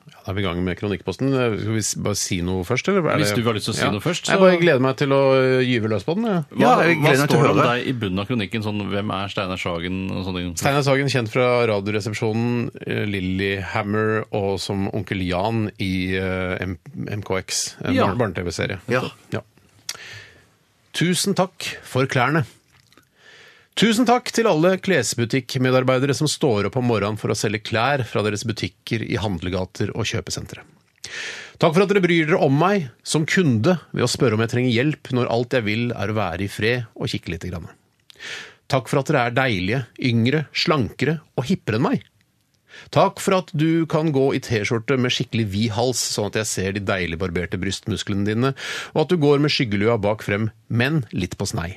A: Ja, Da er vi i gang med Kronikkposten. Skal vi s- bare si noe først, eller?
B: Hvis du har lyst til å si noe først,
A: Jeg
B: så-
A: bare gleder meg til å ø, gyve løs på den. jeg.
B: Hva,
C: Ja, jeg gleder
B: hva
C: meg til å
B: står det om
C: høre.
B: deg i bunnen av kronikken? Sånn, hvem er Steinar Sagen? Og sånne ting?
A: Steinar Sagen, kjent fra Radioresepsjonen, eh, Lillyhammer og som Onkel Jan i eh, M MKX, en
B: Ja.
A: barne- barne-TV-serie.
C: Ja.
A: Ja. Tusen takk for klærne. Tusen takk til alle klesbutikkmedarbeidere som står opp om morgenen for å selge klær fra deres butikker i handlegater og kjøpesentre. Takk for at dere bryr dere om meg som kunde ved å spørre om jeg trenger hjelp når alt jeg vil er å være i fred og kikke lite grann. Takk for at dere er deilige, yngre, slankere og hippere enn meg. Takk for at du kan gå i T-skjorte med skikkelig vid hals, sånn at jeg ser de deilig barberte brystmusklene dine, og at du går med skyggelua bak frem, men litt på snei.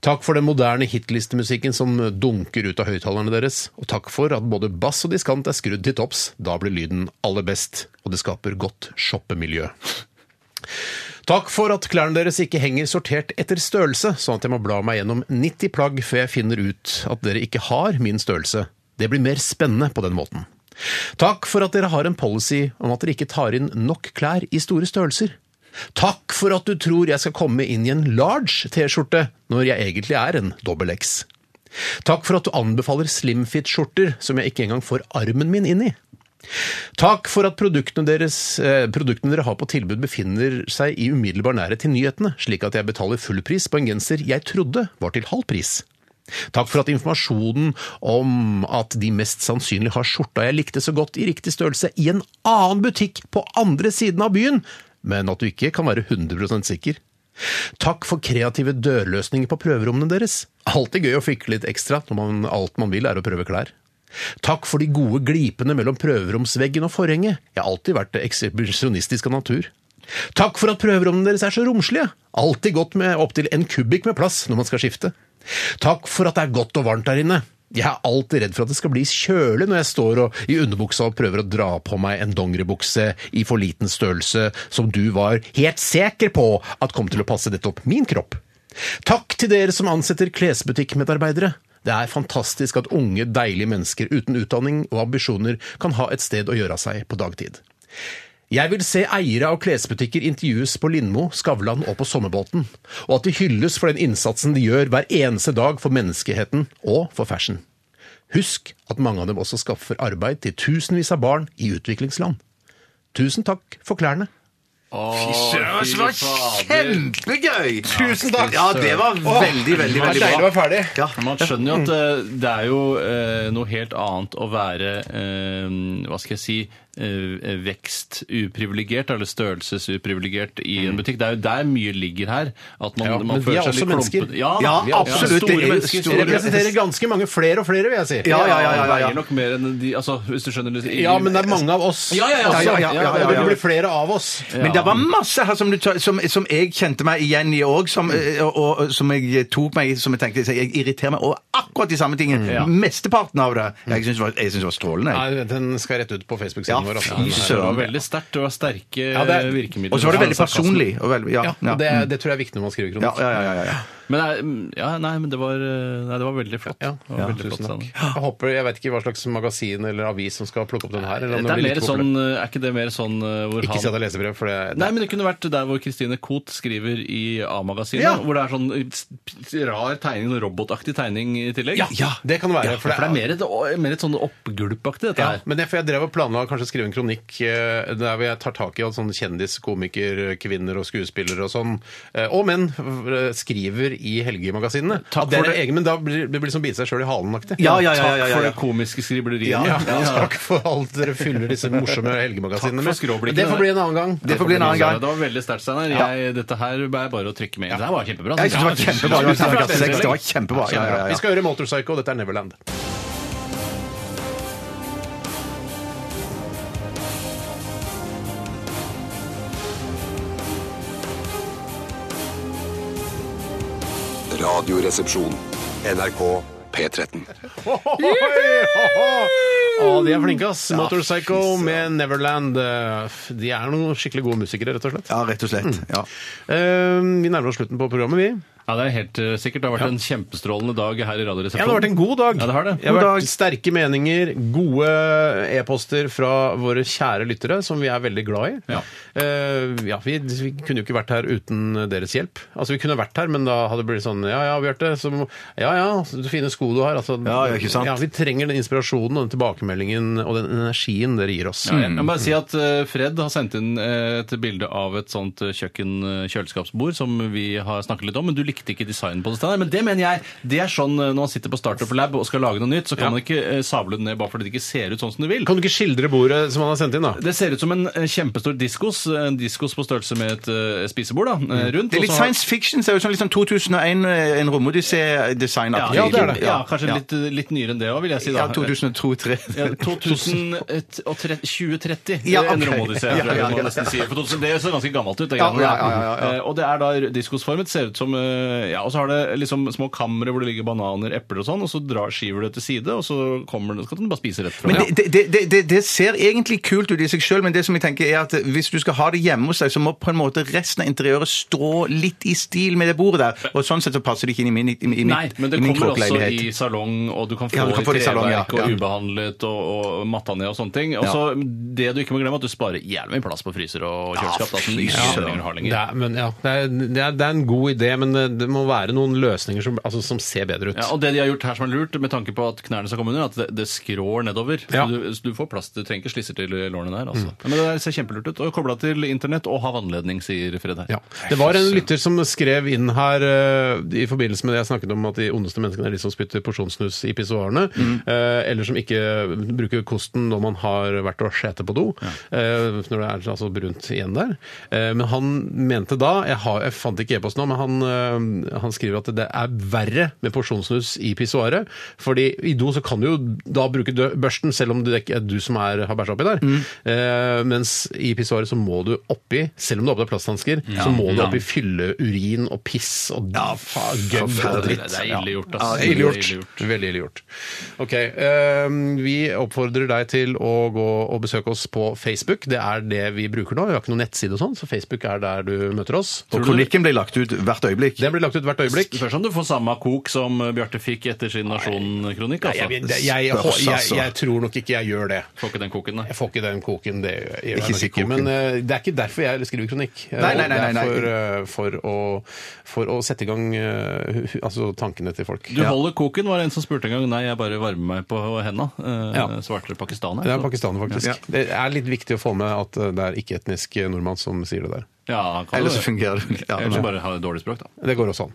A: Takk for den moderne hitlistemusikken som dunker ut av høyttalerne deres, og takk for at både bass og diskant er skrudd til topps, da blir lyden aller best, og det skaper godt shoppemiljø. Takk for at klærne deres ikke henger sortert etter størrelse, sånn at jeg må bla meg gjennom 90 plagg før jeg finner ut at dere ikke har min størrelse. Det blir mer spennende på den måten. Takk for at dere har en policy om at dere ikke tar inn nok klær i store størrelser. Takk for at du tror jeg skal komme inn i en large T-skjorte når jeg egentlig er en dobbel X. Takk for at du anbefaler slimfit-skjorter som jeg ikke engang får armen min inn i. Takk for at produktene, deres, eh, produktene dere har på tilbud befinner seg i umiddelbar nærhet til nyhetene, slik at jeg betaler full pris på en genser jeg trodde var til halv pris. Takk for at informasjonen om at de mest sannsynlig har skjorta jeg likte så godt i riktig størrelse i en annen butikk på andre siden av byen, men at du ikke kan være 100 sikker. Takk for kreative dørløsninger på prøverommene deres. Alltid gøy å fikle litt ekstra når man, alt man vil er å prøve klær. Takk for de gode glipene mellom prøveromsveggen og forhenget. Jeg har alltid vært ekshibisjonistisk av natur. Takk for at prøverommene deres er så romslige. Alltid godt med opptil en kubikk med plass når man skal skifte. Takk for at det er godt og varmt der inne. Jeg er alltid redd for at det skal bli kjølig når jeg står og, i underbuksa og prøver å dra på meg en dongeribukse i for liten størrelse som du var helt sikker på at kom til å passe nettopp min kropp. Takk til dere som ansetter klesbutikkmedarbeidere. Det er fantastisk at unge, deilige mennesker uten utdanning og ambisjoner kan ha et sted å gjøre av seg på dagtid. Jeg vil se eiere av klesbutikker intervjues på Lindmo, Skavlan og på Sommerbåten, og at de hylles for den innsatsen de gjør hver eneste dag for menneskeheten og for fashion. Husk at mange av dem også skaffer arbeid til tusenvis av barn i utviklingsland. Tusen takk for klærne.
C: Det var kjempegøy! Tusen takk! Ja, det var veldig, veldig, veldig bra.
A: være ferdig.
C: Ja.
B: Men Man skjønner jo at eh, det er jo eh, noe helt annet å være eh, hva skal jeg si eh, vekstuprivilegert eller størrelsesuprivilegert i en butikk. Det er jo der mye ligger her. At man,
A: Ja,
B: man
A: men vi
B: føler
A: er
B: seg litt
A: også mennesker.
B: klumpet. Ja,
C: Ja,
B: vi er også
C: absolutt, det er
B: Store
C: jo
B: mennesker.
C: store-
B: Store
A: representerer ganske mange flere og flere, vil jeg si.
C: Ja, ja, ja, ja, ja.
B: Veier nok mer enn de altså, Hvis du skjønner litt-
A: Ja, men det er mange av oss.
B: Ja, ja, ja,
A: også.
B: ja,
C: ja, ja, ja, ja.
A: Og det blir flere av oss.
C: Men det var masse her som, du, ta- som, som jeg kjente meg igjen i òg, som, eh, og, og, som jeg tok meg i, som jeg tenkte Jeg irriterer meg over akkurat de samme tingene. Mesteparten av det. Jeg syns det, var- jeg synes det var strålende. jeg.
A: Nei, den skal rett ut på
C: Ja,
A: Facebook-siden vår. altså.
C: fy
B: Det var
C: søren.
B: veldig sterkt. Det var sterke
A: Ja, det er-
B: virkemidler.
C: Og så var det veldig
B: Sarkasme.
C: personlig. Og veldig, ja,
A: Ja,
C: ja.
A: og det, det tror jeg er viktig når man skriver
C: Ja,
A: kronikk.
C: ja, ja, ja, ja.
B: Men, det er- ja, nei, men det var, eh, nei, det var veldig flott.
A: Ja,
B: Det var veldig flott,
A: tusen takk.
B: Steinar.
A: Jeg håper, jeg vet ikke hva slags magasin eller avis som skal plukke opp den her. Eller om
B: Det er,
A: blir
B: mer
A: like
B: sånn, eh, er ikke det mer sånn eh, hvor
A: populær. Ikke
B: han
A: si at det er lesebrev, for det,
B: Nei, men det kunne vært der hvor Kristine Koht skriver i A-magasinet,
A: Ja.
B: hvor det er sånn eh, rar tegning, sånn robotaktig tegning i tillegg.
A: ja, det kan være.
B: Ja, for det er mer et, mer et sånn oppgulpaktig, dette
A: ja,
B: her.
A: men jeg, for jeg drev og planla å kanskje skrive en kronikk eh, der hvor jeg tar tak sånn, i at sånne kjendis, komiker, kvinner og skuespillere og sånn, eh, og menn, eh, skriver i helgemagasinene.
B: Takk
A: At det
B: for
A: er
B: det.
A: egen, men da blir det blir liksom bite seg sjøl i halen-aktig.
C: Ja, ja, ja, ja, ja,
B: Takk for
C: ja.
B: det komiske skribleriet.
C: Ja, ja, ja.
A: Takk for alt dere fyller disse morsomme helgemagasinene med.
B: Takk for skråblikkene.
A: Det får bli en annen gang.
C: Det får bli en annen gang.
B: Det var veldig sterkt, Steinar. Jeg- Dette her er bare å trykke med. Det her var kjempebra.
C: Jeg synes det var kjempebra. Det var terningkast seks. Det var kjempebra. Ja, ja,
A: Vi
C: ja.
A: skal høre Motorpsycho, dette er Neverland.
I: Radioresepsjon. NRK P13.
A: Å, de er flinke, ass. Motorpsycho med Neverland. Eh, f- De er noen skikkelig gode musikere, rett og slett.
C: ja rett og slett. Ja.
A: Eh, Vi nærmer oss slutten på programmet, vi.
B: Ja, det er helt eh, sikkert. Det har vært en kjempestrålende dag her
A: Ja,
B: i
A: det har vært
B: Radioresepsjonen.
A: en god dag.
B: Ja, det har det.
A: har
C: God
A: vært
C: dag.
A: Sterke meninger, gode e-poster fra våre kjære lyttere, som vi er veldig glad i.
B: Ja.
A: Eh, ja, vi, vi kunne jo ikke vært her uten deres hjelp. Altså, Vi kunne vært her, men da hadde det blitt sånn Ja ja, Bjarte. så må- Ja ja, så fine sko du har. Altså,
C: Ja, ja, ikke sant?
A: Vi trenger den inspirasjonen og den tilbakemeldingen og den energien dere gir oss.
B: Ja, jeg må bare si at eh, Fred har sendt inn eh, et bilde av et sånt eh, kjøkken-kjøleskapsbord som vi har snakket litt om, men du likte ikke designen på det. Steinar. Men det mener jeg, det er sånn eh, når man sitter på Startup Lab og skal lage noe nytt, så kan
A: Ja.
B: man ikke eh, sable det ned bare fordi det ikke ser ut sånn som du vil.
A: Kan du ikke skildre bordet som han har sendt inn, da?
B: Det ser ut som en eh, kjempestor diskos, en diskos på størrelse med et eh, spisebord da, eh, rundt.
C: Det er
B: og
C: litt
B: så har-
C: science fiction. Ser ut som litt sånn 2001, eh, en
B: ja,
C: romodyssé-designaktig.
B: ja, det er det. Ja,
C: Ja.
B: kanskje litt, eh, litt nyere enn det òg, vil jeg si. da.
C: Ja, 2002-2003.
B: Ja, 2030
C: Ja, ok.
B: en romodyssé, tror jeg
C: Ja, ja, ja,
B: man nesten sier. For 2000, det ser ganske gammelt ut. det
C: Ja,
B: greiene
C: ja,
B: der.
C: ja, ja, ja.
B: Eh, Og det er da diskosformet. Ser ut som eh, Ja, og så har det liksom små kamre hvor det ligger bananer, epler og sånn, og så drar, skyver du det til side, og så kommer det, så kan du bare spise rett fra.
C: Men det, det, det- det, det, det ser egentlig kult ut i seg sjøl, men det som jeg tenker er at hvis du skal ha det hjemme hos deg, så må på en måte resten av interiøret strå litt i stil med det bordet der. Og sånn sett så passer det ikke inn i min, i, i min,
B: Nei, men det
C: i min
B: kommer også
C: kråkeleilighet.
B: i salong, og du kan få,
C: Ja, du kan få
B: i
C: det i salong, ja.
B: treverk og
C: Ja.
B: ubehandlet og, og matta ned og sånne ting. Og så det du ikke må glemme, at du sparer jævlig mye plass på fryser og kjøleskap. da, som du
C: fy
B: ikke
C: søren.
B: lenger har lenger.
A: Det er, men, ja, det, er, det, er, det er en god idé, men det, det må være noen løsninger som, altså, som ser bedre ut.
B: Ja, og det de har gjort her som er lurt, med tanke på at knærne skal komme under, at det, det skrår nedover.
A: Ja.
B: Så, du, så du får plass, du trenger ikke slisser til lårene der. Altså. Men det der ser kjempelurt ut. Og kobla til internett og ha vannledning, sier Fred her.
A: Ja. Det var en lytter som skrev inn her eh, i forbindelse med det jeg snakket om at de ondeste menneskene er de som spytter porsjonssnus i pissoarene, eh, eller som ikke bruker kosten når man har vært og skjete på do, eh, når det er altså brunt igjen der. Eh, Men han mente da, jeg, har, jeg fant ikke e-post nå, men han, eh, han skriver at det er verre med porsjonssnus i pissoaret, fordi i do så kan du jo da bruke dø- børsten, selv om det ikke er du som er, har bæsja oppi der,
B: Mm.
A: eh, mens i pissoaret så må du oppi, selv om du har på deg plasthansker, så må du
B: Ja.
A: oppi fylle urin og piss og ja, gøbb og
B: Det,
A: dritt.
B: det er ille gjort,
A: Ja,
B: altså.
A: det er ille gjort. Veldig ille gjort. Ok, eh, Vi oppfordrer deg til å gå og besøke oss på Facebook. Det er det vi bruker nå. Vi har ikke noen nettside og sånn, så Facebook er der du møter oss.
C: Og kronikken blir lagt ut hvert øyeblikk.
A: Den blir lagt ut hvert øyeblikk.
B: Spørs om du får samme kok som Bjarte fikk etter sin Nasjon-kronikk.
A: Nei, jeg,
B: Altså.
A: det- jeg, jeg,
C: Spørs, altså.
A: jeg, jeg tror nok ikke jeg gjør det.
B: Får ikke den koken, nei.
A: Jeg får ikke den koken, det gjør jeg
C: Ikke
A: nok
C: si
A: ikke.
C: koken.
A: Men eh, det er ikke derfor jeg skriver kronikk. Eh,
C: Nei, nei, nei, nei, nei.
A: Det er for, eh, for, å, for å sette i gang eh, hu- hu- altså tankene til folk.
B: Du holder koken, var det en som spurte en gang. Nei, jeg bare varmer meg på henda. Eh,
A: Ja.
B: Svarte pakistaner.
A: Det er
B: så-
A: pakistaner, faktisk. Det er litt viktig å få med at eh, det er ikke-etnisk nordmann som sier det der.
B: Ja, han kan
C: Ellers
B: det.
C: så fungerer det. Ja,
B: Eller så bare har jeg dårlig språk, da.
A: Det går også an.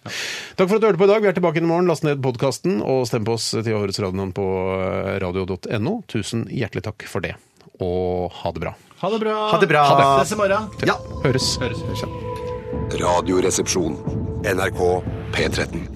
A: Takk for at du hørte på i dag. Vi er tilbake inn i morgen. Last ned podkasten og stem på oss til årets radionavn på eh, radio.no. Tusen hjertelig takk for det, og ha det bra.
B: Ha det bra.
C: Ha det bra.
B: Ses i morgen.
C: Ja.
A: Høres.
B: Høres.
I: Radioresepsjon. NRK P13.